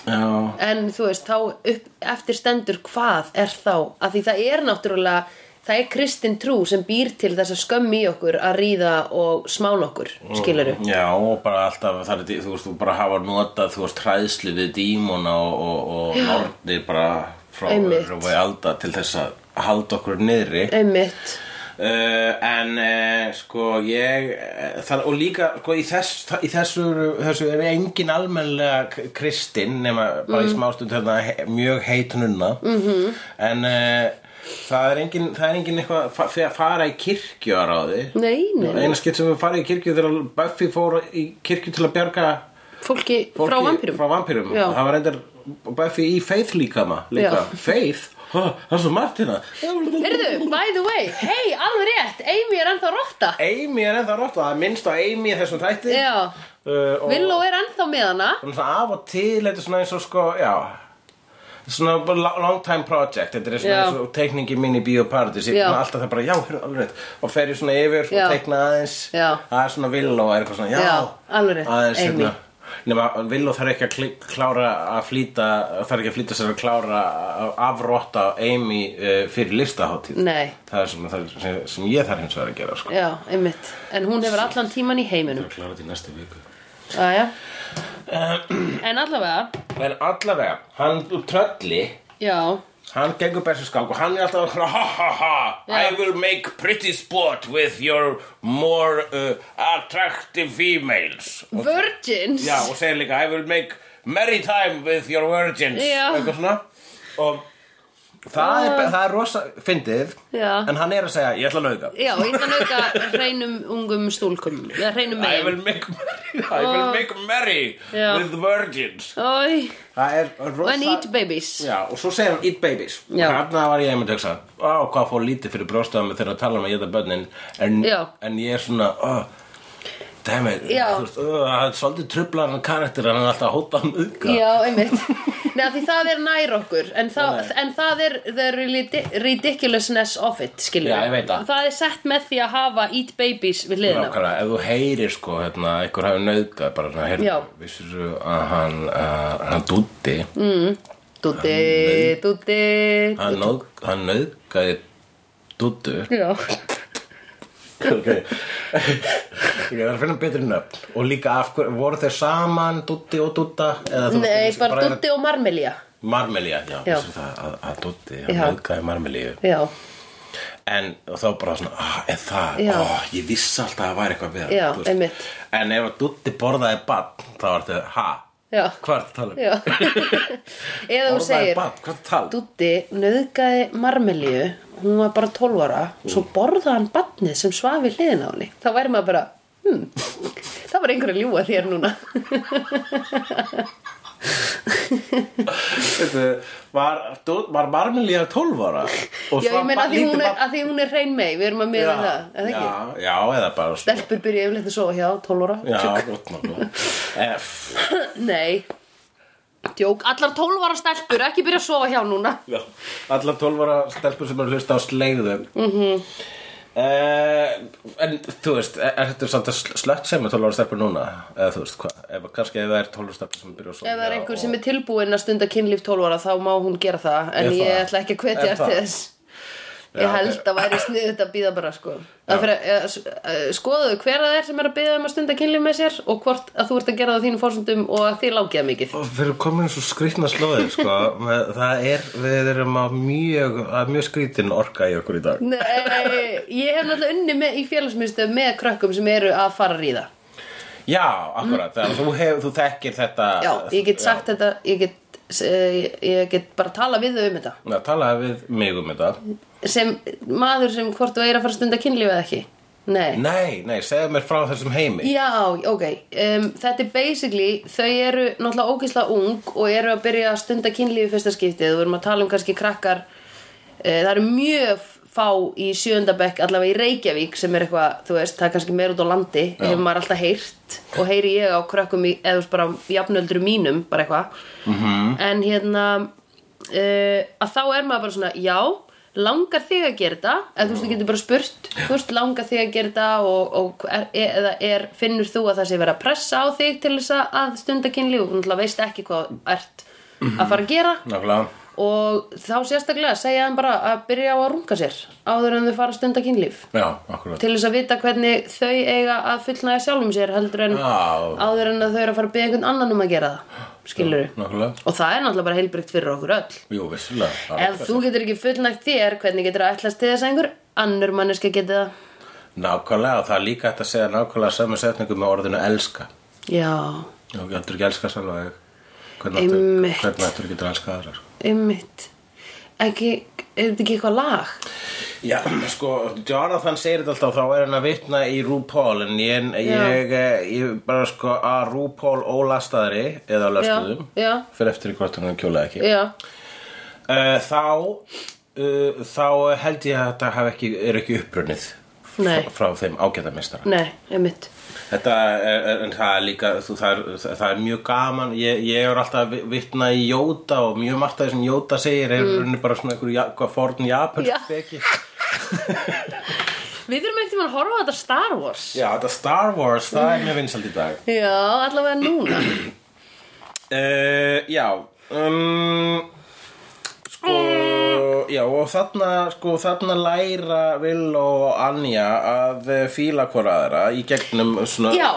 Speaker 2: já
Speaker 1: En þú veist, þá upp, eftir stendur hvað er þá? Af því það er náttúrulega, það er kristin trú sem býr til þess að skömmi í okkur að ríða og smána okkur, skiluru.
Speaker 2: Já, og bara alltaf, það er, þú veist, þú bara hafa notað, þú veist, hræðslu við dímona og, og, og nornir bara frá
Speaker 1: Einmitt.
Speaker 2: og við alda til þess að halda okkur niðri
Speaker 1: Einmitt.
Speaker 2: Uh, en uh, sko ég uh, það, og líka sko í, þess, í þessu, eru- þessu er engin almennlega k- kristinn nema bara í
Speaker 1: Mm.
Speaker 2: smástund hérna, he, mjög heit nunna -hmm.
Speaker 1: Mhm.
Speaker 2: en uh, það er engin, það er engin eitthvað fa- fyrir að fara í kirkju að ráði
Speaker 1: Nei, nei, nei.
Speaker 2: eina skipt sem við farið í kirkju þegar Buffy fór í kirkju til að bjarga
Speaker 1: Fólki,
Speaker 2: fólki
Speaker 1: frá vampýrum.
Speaker 2: frá vampírum.
Speaker 1: Já.
Speaker 2: það var reyndar Buffy í Faith líka, ma, líka.
Speaker 1: Já.
Speaker 2: Faith "Ha, það er svo margt hérna
Speaker 1: Heyrðu, by the way, hei, alveg rétt, Amy er ennþá rotta
Speaker 2: Amy er ennþá rátt það er minnst á Amy í þessum þætti
Speaker 1: Já,
Speaker 2: uh, og
Speaker 1: Villó er ennþá með hana
Speaker 2: svona svona af og til þetta er svona eins og sko, já svona bara la- long time project þetta er svona
Speaker 1: Já.
Speaker 2: eins og teikningi mín í bioparadís ég
Speaker 1: Já.
Speaker 2: er alltaf það bara, já, hérna, alveg rétt og fer ég svona yfir
Speaker 1: Já.
Speaker 2: og teikna aðeins
Speaker 1: Já.
Speaker 2: það er svona villó er eitthvað svona, já,
Speaker 1: Já, alveg rétt,
Speaker 2: aðeins
Speaker 1: Amy.
Speaker 2: hérna nema villó þarf ekki að kli- klára að flýta þarf ekki að flýta sér að klára að afrotta Amy uh, fyrir listaháttíð
Speaker 1: Nei,
Speaker 2: það er sem, það er sem, sem ég þarf hins vegar að gera sko.
Speaker 1: já, einmitt En hún hefur allan tíman í heiminum
Speaker 2: að klára þetta í næstu viku
Speaker 1: Æja
Speaker 2: Ehm.
Speaker 1: En allavega,
Speaker 2: en allavega, hann trölli
Speaker 1: já
Speaker 2: Hann gengur berserskang og hann er alltaf svona ha ha ha
Speaker 1: Já.
Speaker 2: I will make pretty sport with your more uh, attractive females
Speaker 1: Virgins
Speaker 2: Já og segir líka I will make merry time with your virgins
Speaker 1: Já. Ah.
Speaker 2: Eitthvað svona Og það, er, það er rosa fyndið
Speaker 1: Já.
Speaker 2: En hann er að segja ég ætla að nauðga
Speaker 1: Já, ég ætla að nauka hreinum ungum stúlkum Eða hreinum
Speaker 2: I
Speaker 1: megin
Speaker 2: will make merry, I will make merry
Speaker 1: Ah. Já.
Speaker 2: with virgins
Speaker 1: Æ,
Speaker 2: Það er rosa
Speaker 1: and eat babies
Speaker 2: Já, og svo segir hann eat babies
Speaker 1: Já.
Speaker 2: og hann var ég einmitt að hugsa á, hvað fór lítið fyrir brjóstaðum þegar að tala um að geta börnin en,
Speaker 1: Já.
Speaker 2: en ég er svona ó, dæmi,
Speaker 1: Já.
Speaker 2: þú veist, ó, það er svolítið trublar hann karakter hann er alltaf að hóta hann auðga
Speaker 1: Já, einmitt Nei, af því það er nær okkur En, þa en það er the ridi- ridiculousness of it, skiljum
Speaker 2: Já, ég veit það.
Speaker 1: er sett með því að hafa eat babies við hliðina
Speaker 2: Nákvæmlega, ef þú heyrir sko hérna, einhver hafi nauðgað bara svona
Speaker 1: Já.
Speaker 2: heyrðu, vissir þú að hann uh, hann dútti,
Speaker 1: Mm. Dúti, dúti
Speaker 2: hann, náð, hann nauðgaði dúttu
Speaker 1: Já,
Speaker 2: ok ég er að finna betri nöfn og líka af hverju, voru þeir saman Dutti og Dutta eða þú
Speaker 1: nei,
Speaker 2: veist,
Speaker 1: bara
Speaker 2: er-
Speaker 1: dúti og marmelja
Speaker 2: Marmelía, já,
Speaker 1: Já.
Speaker 2: þessu það að, að Dutti, hann
Speaker 1: Já.
Speaker 2: auðgæði Marmelíu
Speaker 1: Já,
Speaker 2: en og þá bara svona, ah, er það
Speaker 1: Já.
Speaker 2: ó, ég vissi alltaf að það væri eitthvað við hann,
Speaker 1: Já,
Speaker 2: þú veist.
Speaker 1: einmitt.
Speaker 2: en ef að Dutti borðaði bann, þá var þetta, ha
Speaker 1: Já.
Speaker 2: hvað er það að
Speaker 1: já
Speaker 2: tala um? (laughs)
Speaker 1: Eða þú
Speaker 2: borðaði
Speaker 1: segir
Speaker 2: bann, hvað er það að tala um?
Speaker 1: Dúti nauðgæði marmelju hún var bara 12 ára
Speaker 2: Mm.
Speaker 1: svo borðaði hann batnið sem svafi hliðin á henni þá væri maður bara hmm, (laughs) það var einhver að ljúga þér núna
Speaker 2: Þetta var, Dú- var Marmelía 12
Speaker 1: (laughs)
Speaker 2: ára og
Speaker 1: já ég meina að því, hún er,
Speaker 2: barn-
Speaker 1: að því hún er hrein mei við erum að
Speaker 2: já,
Speaker 1: meira það, eða
Speaker 2: já,
Speaker 1: ekki
Speaker 2: já, eða bara svona-
Speaker 1: stelpur byrja yfirleitt að sofa hjá 12 ára
Speaker 2: Já,
Speaker 1: Tjók.
Speaker 2: gott nokkuð F
Speaker 1: (clears throat) nei Djók, allar 12 ára stelpur ekki byrja að sofa hjá núna
Speaker 2: Já, allar 12 ára stelpur sem eru að hlusta á slegðu mm
Speaker 1: Mhm.
Speaker 2: En þú veist, er, er þetta samt að slött sem er 12 ára stelpur núna? Eða þú veist hvað, ef, kannski ef það er 12 ára stelpur sem byrja að sofa
Speaker 1: ef það er einhver sem
Speaker 2: og,
Speaker 1: er tilbúin að stunda kynlíf 12 ára þá má hún gera það en
Speaker 2: Er
Speaker 1: ég
Speaker 2: það?
Speaker 1: ætla ekki að
Speaker 2: Er
Speaker 1: hvetja þér
Speaker 2: það?
Speaker 1: til þess
Speaker 2: Já,
Speaker 1: ég held að væri sniðut að býða bara sko Að fyrir, að- að- skoðaðu hver það er sem er að býða um að stunda kynlíf með sér og hvort að þú ert að gera það á þínum fórsöndum og að þið langiða mikið
Speaker 2: og Við erum komin svo skrýtna slóðið, sko með, Það er, við erum á mjög, að mjög skrýtin orka í okkur í dag
Speaker 1: Nei, ég hef náttúrulega unni með, í félagsmyndstöð með krökkum sem eru að fara að ríða
Speaker 2: Já, akkurat, mm. þú, hef, þú þekkir þetta
Speaker 1: já, ég get sagt þetta ég get, ég, ég get bara tala við þau um þetta
Speaker 2: Já, talaði við mig um þetta
Speaker 1: sem maður sem hvort þú er að fara að stunda kynlíf eða ekki Nei.
Speaker 2: Nei, nei, segðu mér frá þessum heimi
Speaker 1: Já, ok, um, þetta er basically, þau eru náttúrulega ógeðslega ung og eru að byrja að stunda kynlífi fyrsta skiptið og við erum að tala um kannski krakkar, uh, það eru mjög fá í sjöndabekk, allavega í Reykjavík sem er eitthvað, þú veist, það er kannski meir út á landi, hefur maður alltaf heyrt og heyri ég á krakkum í, eða þú veist, bara jafnöldru mínum, bara eitthvað, -hmm. en hérna, uh, að þá er maður bara svona, já, langar þig að gera þetta eða þú veist, þú getur bara spurt þú veist, langar þig að gera þetta og, og er, eða er, finnur þú að það sé verið að pressa á þig til þess að- að stunda kynlíf og þú náttúrulega veist ekki hvað þú ert að fara að gera
Speaker 2: Nákvæmlega
Speaker 1: og þá sérstaklega segja hann bara að byrja á að runga sér áður en þau fara að stunda kynlíf
Speaker 2: Já, akkurat
Speaker 1: til þess að vita hvernig þau eiga að fullnæja sjálfum sér heldur en
Speaker 2: Já.
Speaker 1: áður en að þau eru að fara að byrja einhvern annan um að gera það skilur
Speaker 2: Nákvæmlega
Speaker 1: og það er náttúrulega bara heilbrygt fyrir okkur öll
Speaker 2: Jú, vissulega það er
Speaker 1: Ef þú getur ekki fullnægt þér, hvernig getur að ætlast til þess að einhver annur manneska geti það?
Speaker 2: Nákvæmlega, og það er líka hægt að segja nákvæmlega saman setningu með orðinu elska
Speaker 1: Já,
Speaker 2: Þú getur ekki elska sjálf að hvernig
Speaker 1: Einmitt.
Speaker 2: ættir- hvernig ættur getur elska aðra sko.
Speaker 1: einmitt. Ekki, er þetta ekki eitthvað lag?
Speaker 2: Já, sko, Jonathan segir þetta alltaf þá er hann að vitna í RuPaul en ég, ég, eh, ég bara sko að RuPaul ólastaðri eða á
Speaker 1: Já,
Speaker 2: löstuðum
Speaker 1: já,
Speaker 2: fyrir eftir í hvort hann kjólaði ekki
Speaker 1: já,
Speaker 2: uh, þá uh, þá held ég að þetta hef ekki, er ekki upprunnið
Speaker 1: Nei.
Speaker 2: frá, frá þeim ágæðamestara
Speaker 1: Nei, einmitt
Speaker 2: þetta er, er, en það er líka þú, það, er, það er mjög gaman ég, ég er alltaf vi- vitna í Jóta og mjög margt af því sem Jóta segir er mm. bara svona einhver ja, hvað forn Japan
Speaker 1: Já. Við erum ekkert að horfa á þetta Star Wars
Speaker 2: já, þetta Star Wars, það
Speaker 1: Mm.
Speaker 2: er mjög vinsald í dag
Speaker 1: Já, allavega
Speaker 2: (clears throat)
Speaker 1: núna
Speaker 2: Uh, já um, Sko
Speaker 1: Mm.
Speaker 2: Já og þarna sko, Þarna læra Will og Anja Að eh, fíla hvora aðra Í gegnum svona
Speaker 1: Já.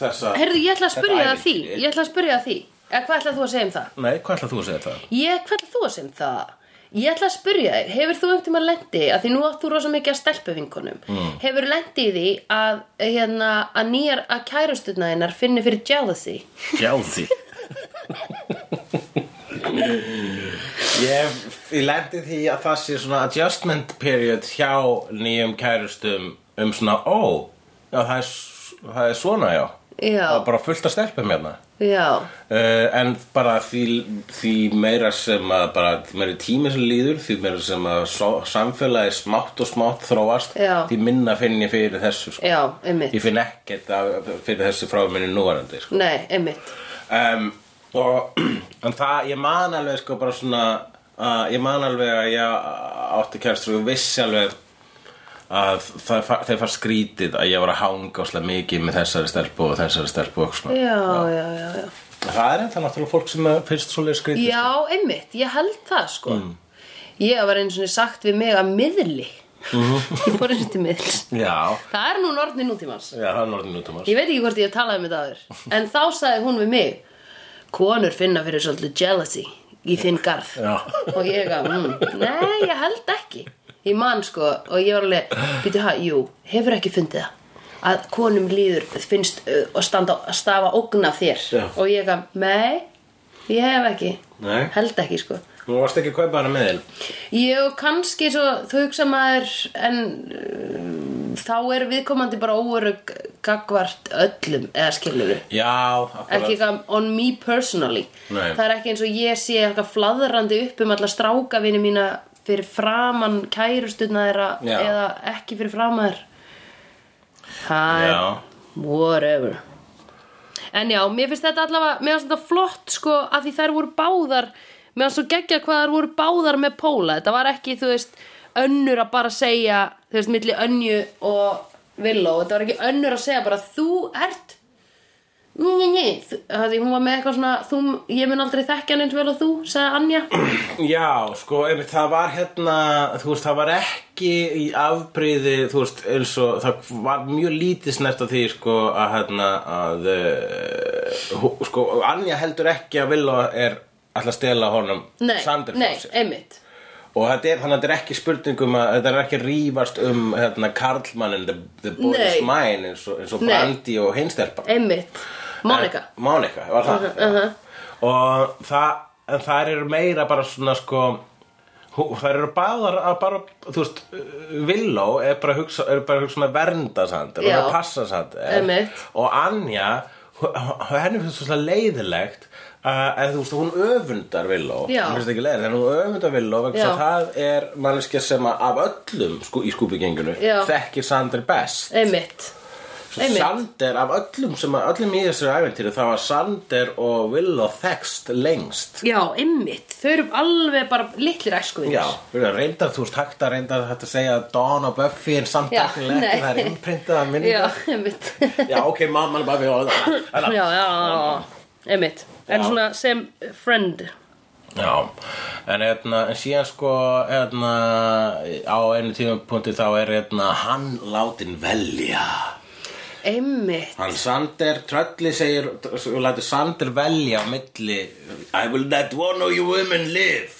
Speaker 2: Þessa
Speaker 1: Heyrðu, ég ætla að
Speaker 2: Þetta
Speaker 1: spyrja það því
Speaker 2: ævintýri.
Speaker 1: Ég ætla að spyrja það því Eða hvað ætla þú að segja um það?
Speaker 2: Nei, hvað ætlaðu þú að segja það?
Speaker 1: Ég, hvað ætla þú að segja um það? Ég ætla að spyrja þér, hefur þú einhvern tímann lendi að því nú átt þú rosa mikið að stelpu vinkonum mm. hefur lendi í því að hérna, að nýjar að kærustutna hennar finni fyrir jealousy
Speaker 2: Jealousy Ég, ég lendi því að það sé svona adjustment period hjá nýjum kærustum um svona, ó, já það er, s- það er svona, já.
Speaker 1: Já.
Speaker 2: Það er bara fullt að stelpum hérna.
Speaker 1: Já,
Speaker 2: Uh, en bara því, því meira sem að bara, því meira tími sem líður því meira sem að so, samfélagi smátt og smátt þróast
Speaker 1: Já.
Speaker 2: því minna finn ég fyrir þessu sko.
Speaker 1: já, einmitt
Speaker 2: ég finn ekkert af, fyrir þessu frá minni núvarandi sko.
Speaker 1: Nei, einmitt
Speaker 2: um, og (clears throat) en það, ég man alveg sko bara svona uh, ég man alveg að ég átti kærstur og vissi alveg að það, fa- þeir fara skrítið að ég var að hanga áslega mikið með þessari stelpu og þessari stelpu og svona
Speaker 1: Já, já, já, já
Speaker 2: Það er enda náttúrulega fólk sem eh, finnst svoleið skrítið
Speaker 1: Já, einmitt, ég held það sko Ég var eins og sagt við mig að miðli (laughs) Ég fór eins og til miðls
Speaker 2: Já,
Speaker 1: Það er nú norðni nútímans
Speaker 2: já, það er norðin út um hans
Speaker 1: Ég veit ekki hvort ég hef talað um þetta aður En þá sagði hún við mig Konur finna fyrir svolítið jealousy Í þinn garð
Speaker 2: Já,
Speaker 1: Og ég að, mm, nei, ég held ekki Ég man sko Og ég var alveg, býtu hæ, jú, hefur ekki fundið það Að konum líður finnst uh, Og standa, að stafa ógn af þér
Speaker 2: Já.
Speaker 1: Og ég að, nei, ég hef ekki
Speaker 2: Nei.
Speaker 1: Held ekki sko
Speaker 2: þú varst ekki að kaupa hana með þeim
Speaker 1: Ég kannski svo, þú hugsa maður en uh, þá er viðkomandi bara óörug gagvart öllum eða skilur
Speaker 2: Já, akkurat
Speaker 1: ekki eitthvað on me personally
Speaker 2: Nei.
Speaker 1: það er ekki eins og ég sé eitthvað fladrandi upp um alla strákavinni mína fyrir framan kærustutna þeirra
Speaker 2: Já.
Speaker 1: eða ekki fyrir framan þér það er
Speaker 2: Já.
Speaker 1: whatever en já, mér finnst þetta allavega mér finnst þetta flott sko að því þær voru báðar mér finnst svo geggja hvað þær voru báðar með Póla, þetta var ekki þú veist önnur að bara segja þú veist, milli önju og villó þetta var ekki önnur að segja bara þú ert Njí, njí, njí, því hún var með eitthvað svona þú, ég mun aldrei þekkja hann eins vel og þú, sagði Anja
Speaker 2: Já, sko, einmitt, það var hérna, þú veist, það var ekki í afbreyði, þú veist, eins og það var mjög lítið snert af því, sko, að hérna, að, uh, sko, Anja heldur ekki að Villó er alltaf að stela honum
Speaker 1: Nei,
Speaker 2: Sander frá
Speaker 1: nei,
Speaker 2: sér.
Speaker 1: einmitt
Speaker 2: Og þetta er, þannig að þetta er ekki spurningum að þetta er ekki að rífast um hérna, karlmannin, the, the boy
Speaker 1: Nei.
Speaker 2: is mine eins og, eins og
Speaker 1: Nei.
Speaker 2: Brandi og hinstelpa
Speaker 1: Einmitt, Monika
Speaker 2: Eh, Mónika, var það
Speaker 1: uh-huh.
Speaker 2: Og það, en það eru meira bara svona sko hú- þær eru báðar að bara, þú veist Villó er bara að hugsa, er bara að hugsa um að vernda sandir og
Speaker 1: Já.
Speaker 2: að passa sandir
Speaker 1: Einmitt.
Speaker 2: og Anja hú- hú- henni finnst svo leiðilegt Uh, en þú veist, hún öfundar Villó
Speaker 1: Já.
Speaker 2: hún finnst ekki leiðilegt, en hún öfundar Villó vegna
Speaker 1: Já.
Speaker 2: þess að það er manneskja sem að af öllum sko, í skúpigenginu
Speaker 1: Já.
Speaker 2: þekkir Sander best
Speaker 1: Einmitt, Einmitt.
Speaker 2: Sander, af öllum sem að öllum í þessu æventýri það var Sander og Willow þekst lengst
Speaker 1: já, einmitt Þau eru alveg bara litlir æskuvinir
Speaker 2: Já, reyndar þú veist hægt að reyndar þetta að segja Dawn og Buffy en samt
Speaker 1: Já,
Speaker 2: ekki ekki
Speaker 1: nei.
Speaker 2: það er innprintað að minni
Speaker 1: já (laughs) einmitt
Speaker 2: Já, ok, mamma og Buffy og
Speaker 1: já,
Speaker 2: það
Speaker 1: já, já, einmitt En
Speaker 2: Já.
Speaker 1: svona sem friend
Speaker 2: Já, en, eitna, en síðan sko eitna, á einu tímapunkti þá er eitna, hann látin velja
Speaker 1: Einmitt,
Speaker 2: Hann Sander, trölli segir og lætur Sander velja á milli I will let one of you women live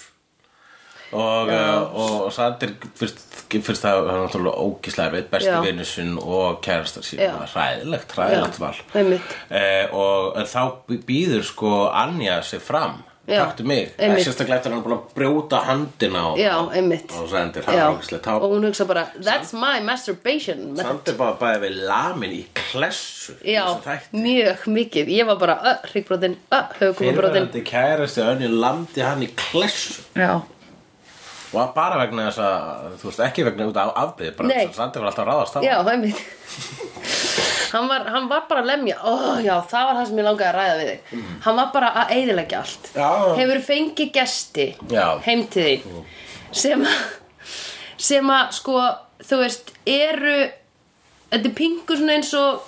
Speaker 2: og, uh, og Sander fyrst, fyrst það hann er náttúrulega ógislega erfitt
Speaker 1: Já.
Speaker 2: besti vinnu sinn og kærastar sín
Speaker 1: Já.
Speaker 2: ræðilegt, ræðilegt
Speaker 1: Já,
Speaker 2: val
Speaker 1: einmitt.
Speaker 2: eh, og en þá býður sko Anja sig fram
Speaker 1: Já,
Speaker 2: taktu mig, Eh,
Speaker 1: einmitt.
Speaker 2: sérstaklega eftir að hann er búin að brjóta handina á,
Speaker 1: já, einmitt
Speaker 2: á Sander, hann
Speaker 1: já.
Speaker 2: er ógislega tá
Speaker 1: Og hún hugsa bara, that's my masturbation
Speaker 2: Sander bara bæði við lamin í klessu í
Speaker 1: Já,
Speaker 2: þessum þætti.
Speaker 1: mjög mikið Ég var bara, uh, hryggbrotinn, uh, höfugumabrotin
Speaker 2: Fyrrverandi kærasti Önni lamdi hann í klessu
Speaker 1: Já,
Speaker 2: og bara vegna þess að þú veist ekki vegna út af afbyrð bara
Speaker 1: Nei.
Speaker 2: þess að Sandi var alltaf að ráðast á
Speaker 1: Já,
Speaker 2: hann.
Speaker 1: það er mitt hann, var, hann var bara að lemja Ó, já, það var það sem ég langaði að ræða við þig Hann var bara að eyðilegja allt
Speaker 2: Mm. Já.
Speaker 1: Hefur fengið gesti
Speaker 2: Já. Mm.
Speaker 1: heim til þín sem að sem að sko, þú veist eru, þetta er pingu svona eins og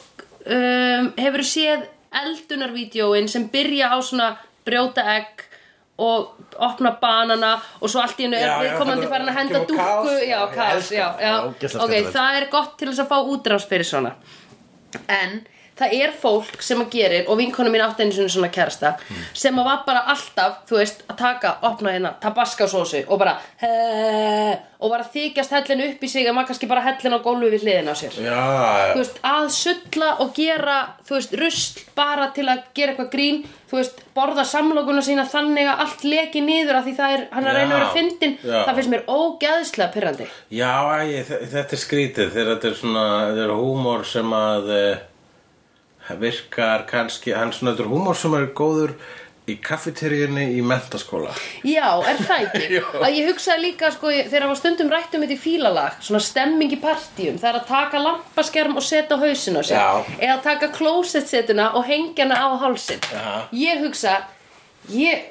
Speaker 1: um, hefur séð eldunarvídjóin sem byrja á svona brjóta egg og opna banana og svo allt í hennu er
Speaker 2: Já, já,
Speaker 1: viðkomandi
Speaker 2: þarna
Speaker 1: farin að henda
Speaker 2: kemur
Speaker 1: dúkku
Speaker 2: kaos.
Speaker 1: já,
Speaker 2: Ég
Speaker 1: kaos,
Speaker 2: elska
Speaker 1: já,
Speaker 2: það.
Speaker 1: já,
Speaker 2: Já, ógeðslega
Speaker 1: ok,
Speaker 2: skemmtilegt.
Speaker 1: það er gott til þess að fá útrás fyrir svona en það er fólk sem að gerir og vinkonu mín átti einu sinni svona kærasta sem að var bara alltaf, þú veist, að taka opna hérna, tabaskasósu og bara "Heee", og var að þykjast hellin upp í sig en var kannski bara hellin á gólfi við hliðin á sér
Speaker 2: Já,
Speaker 1: þú veist, að sulla og gera þú veist, rusl bara til að gera eitthvað grín þú veist, borða samlokuna sína þannig að allt leki niður að því það er, hann er að reyna að vera
Speaker 2: Já,
Speaker 1: fyndin
Speaker 2: já.
Speaker 1: það finnst mér ógeðslega pyrrandi
Speaker 2: já æ, þe- þetta er skrítið þegar þetta er svona, þetta er húmor sem að eh, virkar kannski, hann svona, þetta er húmor sem er góður í kaffeteríunni í mentaskóla
Speaker 1: Já, er það
Speaker 2: (laughs)
Speaker 1: ekki?
Speaker 2: Jú.
Speaker 1: að ég hugsaði líka sko, ég- þegar var stundum rætt um þetta í fílalag svona stemming í partíum, það er að taka lampaskerm og setja á hausin á sig
Speaker 2: Já.
Speaker 1: eða taka klósetsetuna og hengja hana á hálsin
Speaker 2: Já.
Speaker 1: ég hugsa ég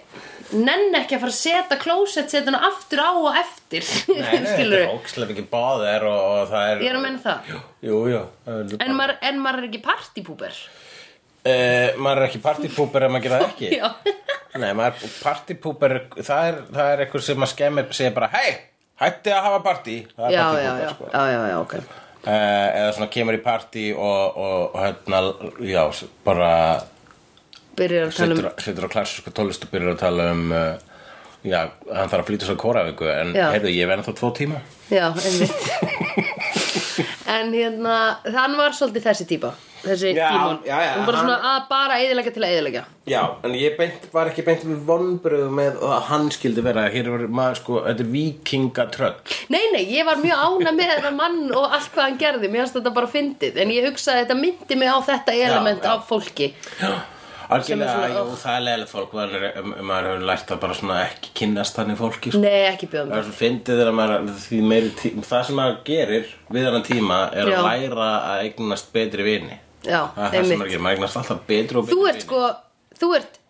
Speaker 1: nenn ekki að fara að setja klósetsetuna aftur á og eftir
Speaker 2: Nei, nei,
Speaker 1: (laughs)
Speaker 2: þetta
Speaker 1: Skilurðu?
Speaker 2: er ókslega mikið báðir og, og það er
Speaker 1: Ég er að meina það.
Speaker 2: Jú, jú það er
Speaker 1: en maður, en maður er ekki partípúber
Speaker 2: Eh, maður er ekki partypooper ef maður gerir það ekki
Speaker 1: (laughs) Já.
Speaker 2: Nei, maður er partypooper það er, það er eitthvað sem maður skemmir segir bara, hei, hætti að hafa partí Það
Speaker 1: já,
Speaker 2: er
Speaker 1: já, já, já,
Speaker 2: partypooper, sko.
Speaker 1: já, já, ok
Speaker 2: Eh, eða svona kemur í partí og, og hérna, já, s- bara
Speaker 1: byrjar að tala um
Speaker 2: situr, situr á klassísku tólest og byrjar að tala um uh, já, hann þarf að flytja svo kóra en
Speaker 1: Já.
Speaker 2: heyrðu, ég verði þá tvo tíma
Speaker 1: Já, einmitt (laughs) En hérna, hann var svolítið þessi típa Þessi
Speaker 2: Já,
Speaker 1: tímon
Speaker 2: já, já,
Speaker 1: Hún bara
Speaker 2: hann-
Speaker 1: svona að bara eðilega til að eðilega
Speaker 2: Já, en ég beint, var ekki beint með vonbröðu með að hann skildi vera hér var maður sko, þetta er vikingatröll
Speaker 1: Nei, nei, ég var mjög ána með þetta mann og allt hvað hann gerði Mér fannst þetta bara fyndið En ég hugsaði að þetta myndi mig á þetta element
Speaker 2: já.
Speaker 1: af fólki Sem
Speaker 2: Algjörlega,
Speaker 1: er svona,
Speaker 2: jú, það er leiðilegt fólk maður er- um- um- maður hefur lært að bara svona ekki kynnast þannig fólki sko.
Speaker 1: Nei, ekki bjóðum
Speaker 2: það er svo fyndið þegar maður því meiri tíma, það sem maður gerir við hann tíma er
Speaker 1: Já.
Speaker 2: að læra að eignast betri vini
Speaker 1: Já,
Speaker 2: það er það sem
Speaker 1: einmitt.
Speaker 2: maður gerir, maður eignast alltaf betri og betri
Speaker 1: Þú ert
Speaker 2: vini.
Speaker 1: sko, þú ert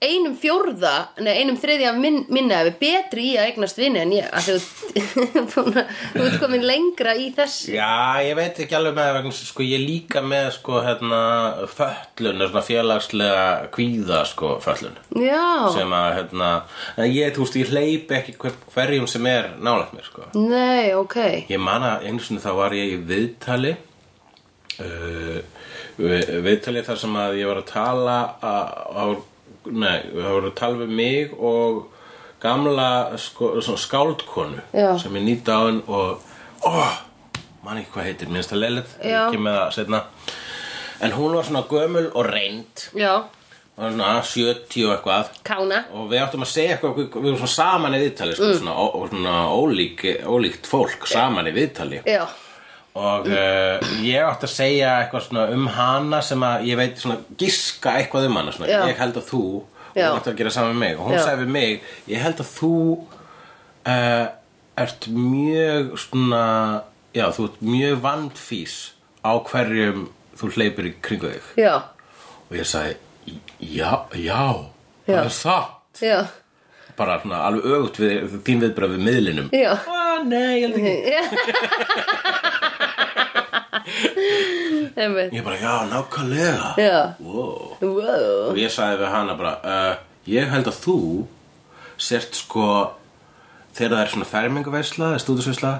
Speaker 1: einum fjórða, nei einum þriðja min, minna ef betri í að eignast vinni en ég að þú, þú, þú ert (laughs) komin lengra í þessu
Speaker 2: Já, ég veit ekki alveg með það vegna þess að, sko, ég er líka með sko, hérna, föllun, svona félagslega kvíða sko, föllun
Speaker 1: Já,
Speaker 2: sem að, hérna, en ég, þú veist, ég hleyp ekki hver, hverjum sem er nálægt mér, sko
Speaker 1: nei, ok
Speaker 2: Ég man að einu sinni þá var ég í viðtali uh, við, viðtali þar sem að ég var að tala á, á- nei, það voru að tala við mig og gamla sko, svona skáldkonu
Speaker 1: Já.
Speaker 2: sem ég nýta á henn og oh, man ekki hvað heitir, minnst að leilit
Speaker 1: Já.
Speaker 2: ekki með það setna en hún var svona gömul og reynd
Speaker 1: Já,
Speaker 2: og svona 70 og eitthvað
Speaker 1: kána
Speaker 2: og við áttum að segja eitthvað við við vorum svona saman í viðtali
Speaker 1: Mm.
Speaker 2: sko, svona, ó, og svona ólík, ólíkt fólk saman í viðtali
Speaker 1: Já,
Speaker 2: og
Speaker 1: Mm.
Speaker 2: uh, ég átti að segja eitthvað svona um hana sem að ég veit svona giska eitthvað um hana svona,
Speaker 1: Já.
Speaker 2: ég held að þú og
Speaker 1: Já.
Speaker 2: hún átti að gera saman með mig og hún
Speaker 1: Já.
Speaker 2: sagði við mig ég held að þú uh, ert mjög svona já þú ert mjög vandfís á hverjum þú hleypir í kringu þig
Speaker 1: já,
Speaker 2: og ég sagði já, já,
Speaker 1: Já.
Speaker 2: það er satt
Speaker 1: já,
Speaker 2: bara svona alveg öfugt við þín viðbröð við miðlinum
Speaker 1: Já.
Speaker 2: ah, nei, ég
Speaker 1: (laughs)
Speaker 2: held ekki
Speaker 1: einmitt
Speaker 2: ég bara, já, nákvæmlega
Speaker 1: Já.
Speaker 2: wow.
Speaker 1: Wow.
Speaker 2: og ég sagði við hana bara uh, ég held að þú sért sko þegar það er svona fermingaveisla eða stúdusveisla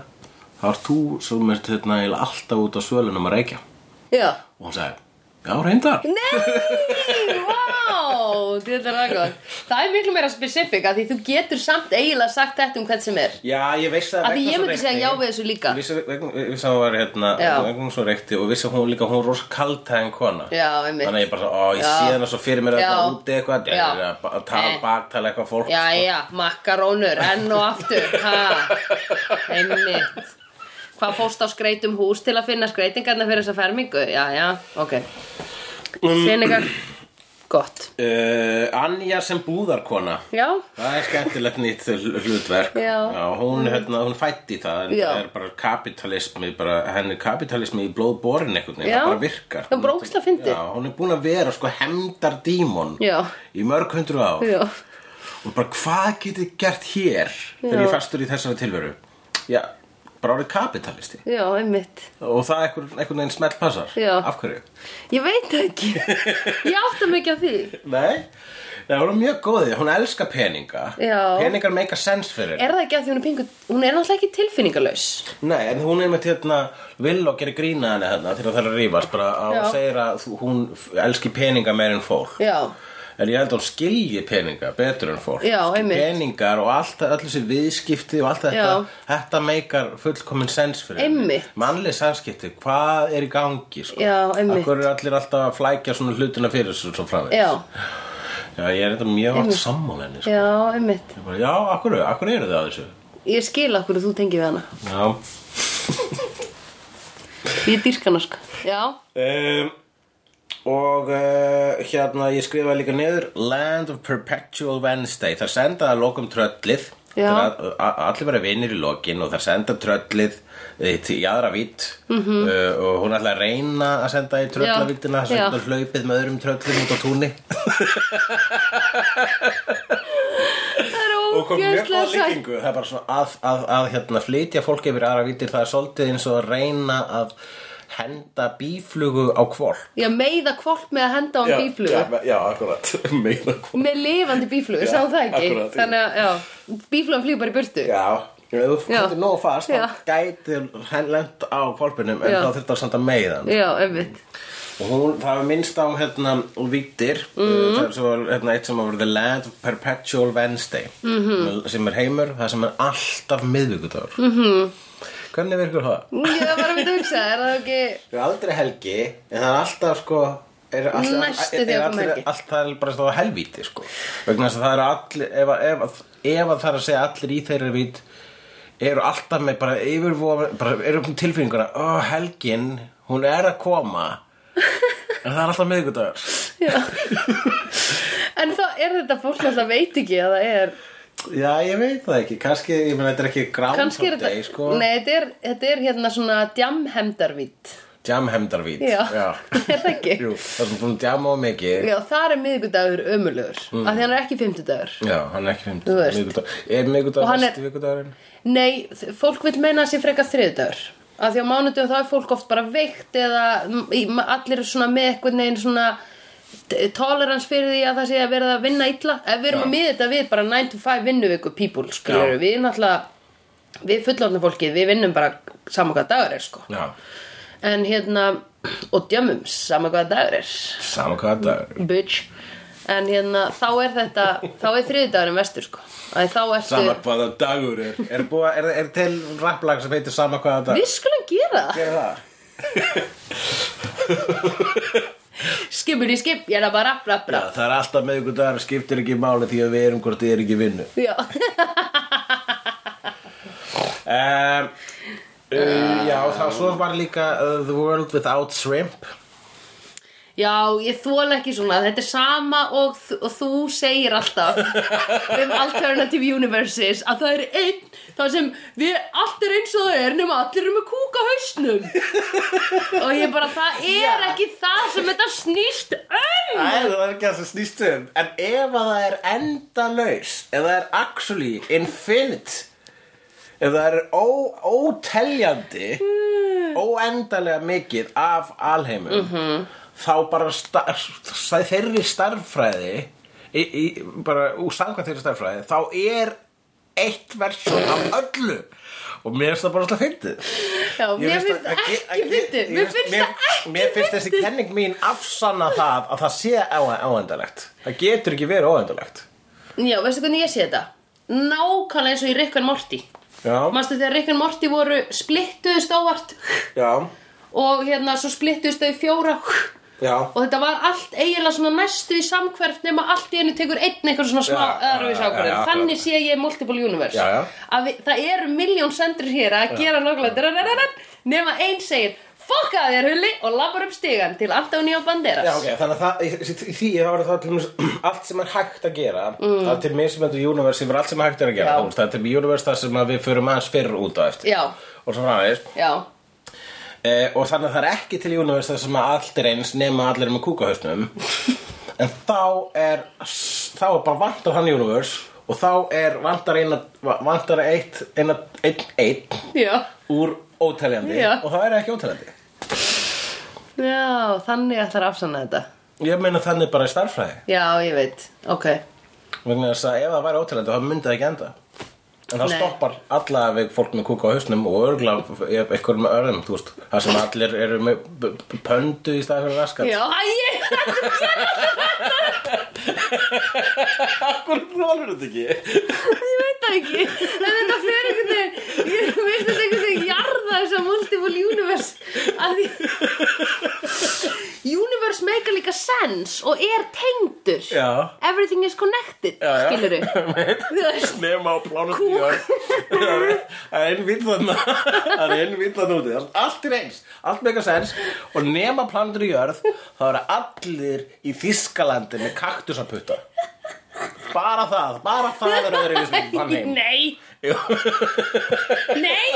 Speaker 2: þá ert þú sem ert hérna eiginlega alltaf út á svölunum að reykja
Speaker 1: Já
Speaker 2: og hún sagði, já, reyndar
Speaker 1: Nei, wow, þetta er það gott Það er miklu meira specific að því þú getur samt eiginlega sagt þetta um hvern sem er
Speaker 2: já, ég veist það
Speaker 1: Af því
Speaker 2: vegna
Speaker 1: ég
Speaker 2: svo
Speaker 1: myndi
Speaker 2: reykti.
Speaker 1: segja já við þessu líka
Speaker 2: vissi vegna- vissi að hún var hérna
Speaker 1: Já.
Speaker 2: vegna svo reykti og vissi að hún líka hún er rosa kaldtæðin kona
Speaker 1: Já, einmitt.
Speaker 2: þannig að ég bara svo, ó, ég
Speaker 1: Já.
Speaker 2: sé hana svo fyrir mér að
Speaker 1: Já.
Speaker 2: það úti eitthvað
Speaker 1: Já.
Speaker 2: að ba- tala,
Speaker 1: Nei.
Speaker 2: baktala eitthvað fólk sko.
Speaker 1: Já, já, makkarónur, enn og aftur Ha, einmitt Hvað fórst á skreitum hús til að finna skreitingarna fyrir þessa fermingu? Já, já, ok Senegal gott
Speaker 2: Uh, Anja sem búðarkona
Speaker 1: Já,
Speaker 2: Það er skemmtilegt nýtt hl- hlutverk
Speaker 1: Já.
Speaker 2: hún, hérna, hún fætti það en
Speaker 1: Já.
Speaker 2: það er bara kapitalismi bara, henni er kapitalismi í blóð borin einhvern veginn,
Speaker 1: Já.
Speaker 2: það bara virkar
Speaker 1: Það er bara ógeðslega fyndið.
Speaker 2: Já, hún er búin að vera sko hemdardímon
Speaker 1: Já.
Speaker 2: í mörg hundru ár
Speaker 1: já,
Speaker 2: og bara hvað getið þið gert hér þegar
Speaker 1: Já.
Speaker 2: ég fastur í þessari tilveru Já, bara orðið kapitalisti
Speaker 1: já, einmitt
Speaker 2: og það einhvern, einhvern veginn smelt passar
Speaker 1: Já.
Speaker 2: Af hverju?
Speaker 1: Ég veit það ekki Ég átta mig ekki á því
Speaker 2: Nei, Nei, hún er mjög góðið, hún elskar peninga
Speaker 1: Já.
Speaker 2: Peningar make a sense fyrir henni.
Speaker 1: Er það ekki að því hún er pingu Hún er náttúrulega ekki tilfinningalaus
Speaker 2: Nei, en hún er með hérna vill og gerir grína henni hérna til að það er að rífast bara að hún
Speaker 1: Já.
Speaker 2: segir að þú- hún f- elski peninga meir en fólk
Speaker 1: Já,
Speaker 2: en ég held að hún skilji peninga betur en fólk
Speaker 1: Já, einmitt.
Speaker 2: peningar og allt, öll þessi viðskipti og allt þetta
Speaker 1: Já.
Speaker 2: þetta meikar fullkomin sens fyrir
Speaker 1: Einmitt.
Speaker 2: mannleg samskipti, hvað er í gangi sko?
Speaker 1: Já, einmitt.
Speaker 2: akkur er allir alltaf að flækja svona hlutina fyrir þessu svo framvegis
Speaker 1: já,
Speaker 2: Já, ég er þetta mjög átt sammála henni sko.
Speaker 1: já, einmitt
Speaker 2: Ég bara, já, akkur, akkur eru það á þessu
Speaker 1: Ég skil af hverju þú tengir við hana
Speaker 2: já
Speaker 1: Ég dýrka hana sko Já,
Speaker 2: um, Og uh, hérna ég skrifaði líka niður Land of Perpetual Wednesday Það sendaði að lokum tröllið
Speaker 1: Já.
Speaker 2: Þegar að- a- Allir verið vinir í lokin og það senda tröllið eh, til- í aðra vitt -hmm. uh, og hún ætlaði að reyna að senda í tröllavítina
Speaker 1: Mhm. Já.
Speaker 2: þess að hlaupið með öðrum tröllum út á
Speaker 1: (laughs)
Speaker 2: túnni
Speaker 1: það er
Speaker 2: og kom mjög
Speaker 1: ógjörslega
Speaker 2: góð
Speaker 1: sætt
Speaker 2: líkingu það er bara svona að, að, að hérna, flytja fólk yfir aðra vittir það er svolítið eins og að reyna að henda bíflugu á hvolp
Speaker 1: Já, meiða kvolp með að henda á hann bíflugu
Speaker 2: já, já, akkurat, (laughs) meina hvolp
Speaker 1: Með lifandi bíflugu, sá það ekki
Speaker 2: akkurat, já.
Speaker 1: Þannig að, já, bíflugan flýgur bara í burtu
Speaker 2: Já, ef þú fyrir nóg fast
Speaker 1: Já.
Speaker 2: þá gæti henn lent á kolpinum en
Speaker 1: Já.
Speaker 2: þá þurfti að sanda meiðan
Speaker 1: Já, einmitt
Speaker 2: og hún, það var minnst á hérna vittir,
Speaker 1: Mhm.
Speaker 2: mm. það sem var hérna, eitt sem var The Land of Perpetual Wednesday mm
Speaker 1: Mhm.
Speaker 2: -hmm. sem er heimur, það sem er alltaf miðvikudagur mm -hmm.
Speaker 1: Mhm.
Speaker 2: Hvernig virkur það?
Speaker 1: Ég var að mynda að hugsa, er það ekki
Speaker 2: Það er aldrei helgi en það er alltaf sko er alltaf,
Speaker 1: Næstu því að
Speaker 2: er
Speaker 1: koma
Speaker 2: allir-
Speaker 1: helgi.
Speaker 2: allt það er bara stóð helvíti sko vegna þess að það eru allir ef, að- ef, að- ef að það er að segja allir í þeirra vít eru alltaf með bara yfirvofa bara eru um tilfinninguna ó helgin, hún er að koma en það er alltaf miðvikudagur
Speaker 1: Já. (laughs) en þá er þetta fólk alltaf veit ekki að það er
Speaker 2: já ég veit það ekki, kannski ég meina þetta er ekki
Speaker 1: kannski er
Speaker 2: groundhog
Speaker 1: þetta
Speaker 2: day sko
Speaker 1: nei, þetta er, þetta er hérna svona djamhemdarvít
Speaker 2: jamhemdarvít
Speaker 1: já,
Speaker 2: Já.
Speaker 1: (laughs) er það ekki
Speaker 2: Jú, það er svona búin að djama á mikið
Speaker 1: já, þar er miðvikudagur ömulegur mm. af því hann er ekki fimmtudagur
Speaker 2: Já, hann er ekki
Speaker 1: Þú veist.
Speaker 2: fimmt Er miðvikudagur
Speaker 1: Og hann er-
Speaker 2: næstu vikudagurinn?
Speaker 1: nei, þ- fólk vil meina að sé frekar þriðudagur af því á mánudum þá er fólk oft bara veikt eða m- í- ma- allir eru svona með einhvern veginn svona t- tolerance fyrir því að það sé að vera að vinna illa ef við erum
Speaker 2: Já.
Speaker 1: að miða þetta við bara 9 to 5 vinnuviku people skilur
Speaker 2: Já.
Speaker 1: við náttúrulega við fullorðna fólkið við vinnum bara saman hvað dagur er sko
Speaker 2: Já,
Speaker 1: en hérna og djömmum saman hvað dagur er
Speaker 2: sama hvað dagur
Speaker 1: bitch en hérna þá er þetta þá er þriðdagurinn vestur sko að þá ertu
Speaker 2: Sama hvaða dagur er Er, búa, er, er til rapplag sem heitir sama hvaða dagur?
Speaker 1: við skulum gera það
Speaker 2: Gerðu það?
Speaker 1: skipur í skip ég er að bara rap rap
Speaker 2: Já,
Speaker 1: rap
Speaker 2: það er alltaf miðvikudagur, skiptir ekki máli því að við erum hvort þið er ekki í vinnu
Speaker 1: Já. (laughs)
Speaker 2: um, uh, Já, þá svo var líka uh, The World Without Shrimp
Speaker 1: Já, ég þóla ekki svona, þetta er sama og, þ- og þú segir alltaf
Speaker 2: (laughs)
Speaker 1: um alternative universes að það er einn, það sem við allt er eins og það er nema allir eru með kúk á
Speaker 2: (laughs)
Speaker 1: hausnum og ég bara, það er ekki það sem þetta snýst um
Speaker 2: Æ, það er ekki það sem snýst um En ef að það er endalaus Ef það er actually infinite Ef það er ó, óteljandi Óendalega mikið af alheimum -hmm. Þá bara star, þeirri starffræði í, í, Bara úr samkvæmt þeirri starffræði Þá er eitt versum af öllu Og mér finnst það bara alltaf fyndið
Speaker 1: Já,
Speaker 2: Ég
Speaker 1: mér
Speaker 2: veist
Speaker 1: finnst
Speaker 2: að-
Speaker 1: það
Speaker 2: að-
Speaker 1: ekki
Speaker 2: að-
Speaker 1: fyndið
Speaker 2: ég
Speaker 1: Mér
Speaker 2: veist-
Speaker 1: finnst
Speaker 2: mér-
Speaker 1: það ekki
Speaker 2: Mér finnst þessi kenning mín afsanna það að það sé á- óendalegt Það getur ekki verið óendalegt
Speaker 1: Já, veistu hvernig ég sé þetta? Nákvæmlega eins og í Rick and Morty
Speaker 2: Já,
Speaker 1: Manstu þegar Rick and Morty voru splittuðust ávart
Speaker 2: já,
Speaker 1: og hérna svo splittuðust þau í fjóra og
Speaker 2: já
Speaker 1: þetta var allt eiginlega svona næstu í samkverft nema allt í hennu tekur einn eitthvað svona smá
Speaker 2: Já, já,
Speaker 1: öðruvís
Speaker 2: já, já,
Speaker 1: ákvörðin
Speaker 2: akkurat.
Speaker 1: Þannig sé ég Multiple Universe
Speaker 2: Já, já.
Speaker 1: Að við, það eru miljón sendur hér að gera nákvæmlega nema einn segir fokka þér hulli og labbar upp stígan til Antonio Banderas
Speaker 2: Já, ok, þannig að það, í, í því þá er það til dæmis (clears throat) allt sem er hægt að gera það er til mismöndu universe sem er allt sem er hægt að gera
Speaker 1: Mm. Já.
Speaker 2: Þú veist, það er til universe þar sem að við förum aðeins fyrr út á eftir
Speaker 1: Já.
Speaker 2: og svo framvegis
Speaker 1: Já,
Speaker 2: e, og þannig að það er ekki til universe þar sem að allt er eins nema allir eru með
Speaker 1: (laughs)
Speaker 2: kúkahausnum en þá er þá er bara vantar hann universe og þá er vantar eina vantar eitt, eina, einn, einn
Speaker 1: já,
Speaker 2: úr óteljandi
Speaker 1: Já.
Speaker 2: og það er ekki óteljandi
Speaker 1: já, þannig ætlar að afsanna þetta
Speaker 2: ég meina þannig bara í starffræði
Speaker 1: Já, ég veit, ok
Speaker 2: vegna þess að ef það væri óteljandi þá myndi það ekki enda en það
Speaker 1: Nei.
Speaker 2: stoppar alla við fólk með kúka á hausnum og örgla eitthvað með örðum þú veist, það sem allir eru með b- b- pöndu í staði fyrir raskat
Speaker 1: Já, (laughs) æ,
Speaker 2: Akkur þólur þetta ekki
Speaker 1: ég veit það ekki En þetta fyrir einhvern veginn Ég veist þetta einhvern veginn jarða þess að multiple universe að því Universe make líka sense og er tengdur
Speaker 2: Já.
Speaker 1: Everything is connected,
Speaker 2: Já, já.
Speaker 1: skilur
Speaker 2: (laughs)
Speaker 1: Þú veist,
Speaker 2: nema á plánu það er einn vitt þarna það er einn vitt þarna úti Það er allt er eins, allt mega sens og nema plánundur í jörð þá eru allir í Þískalandi með kaktusaputta bara það, bara það er öðruvísum þann heim
Speaker 1: Nei,
Speaker 2: Jú.
Speaker 1: nei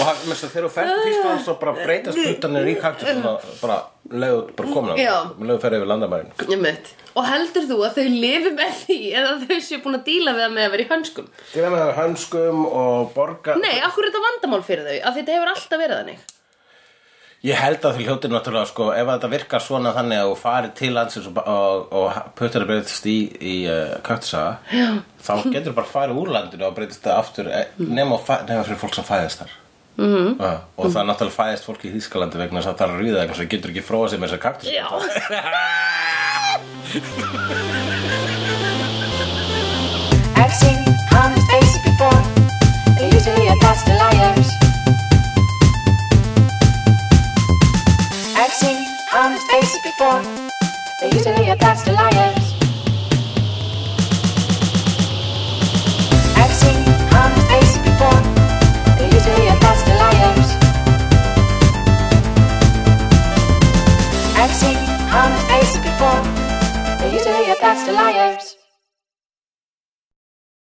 Speaker 2: og hann, mest að þegar þú ferð til Þískaland þá bara breytast puttanir í kaktusum bara leiðu, bara komin
Speaker 1: Já.
Speaker 2: leiðu ferði yfir landamærin
Speaker 1: Einmitt. Og heldur þú að þau lifi með því eða þau séu búin að díla við það með að vera í hönskum?
Speaker 2: til að með það hönskum og borga
Speaker 1: Nei, akkur er þetta vandamál fyrir þau? Að þetta hefur alltaf verið þannig.
Speaker 2: Ég held að þú hljótið náttúrulega sko ef að þetta virkar svona þannig að þú farir til landsins og, og, og puttar að breytast í, í uh, kaktusa þá getur þú bara farið úr landinu og breytist það aftur eh, nema, á fæ- nema fyrir fólk sem fæðist þar mm -hmm. og það er náttúrulega fæðist fólk í Þýskalandi vegna þess að það er að ríða vegna þess að getur ekki fróa sig með þess að kaktusa
Speaker 1: Já.
Speaker 3: I've seen honest faces before. They're usually a pass to liars. I've seen honest faces before. They're usually a pass to liars. I've seen honest faces before. They're usually a pass to liars. I've seen honest faces before. They're usually a pass to liars.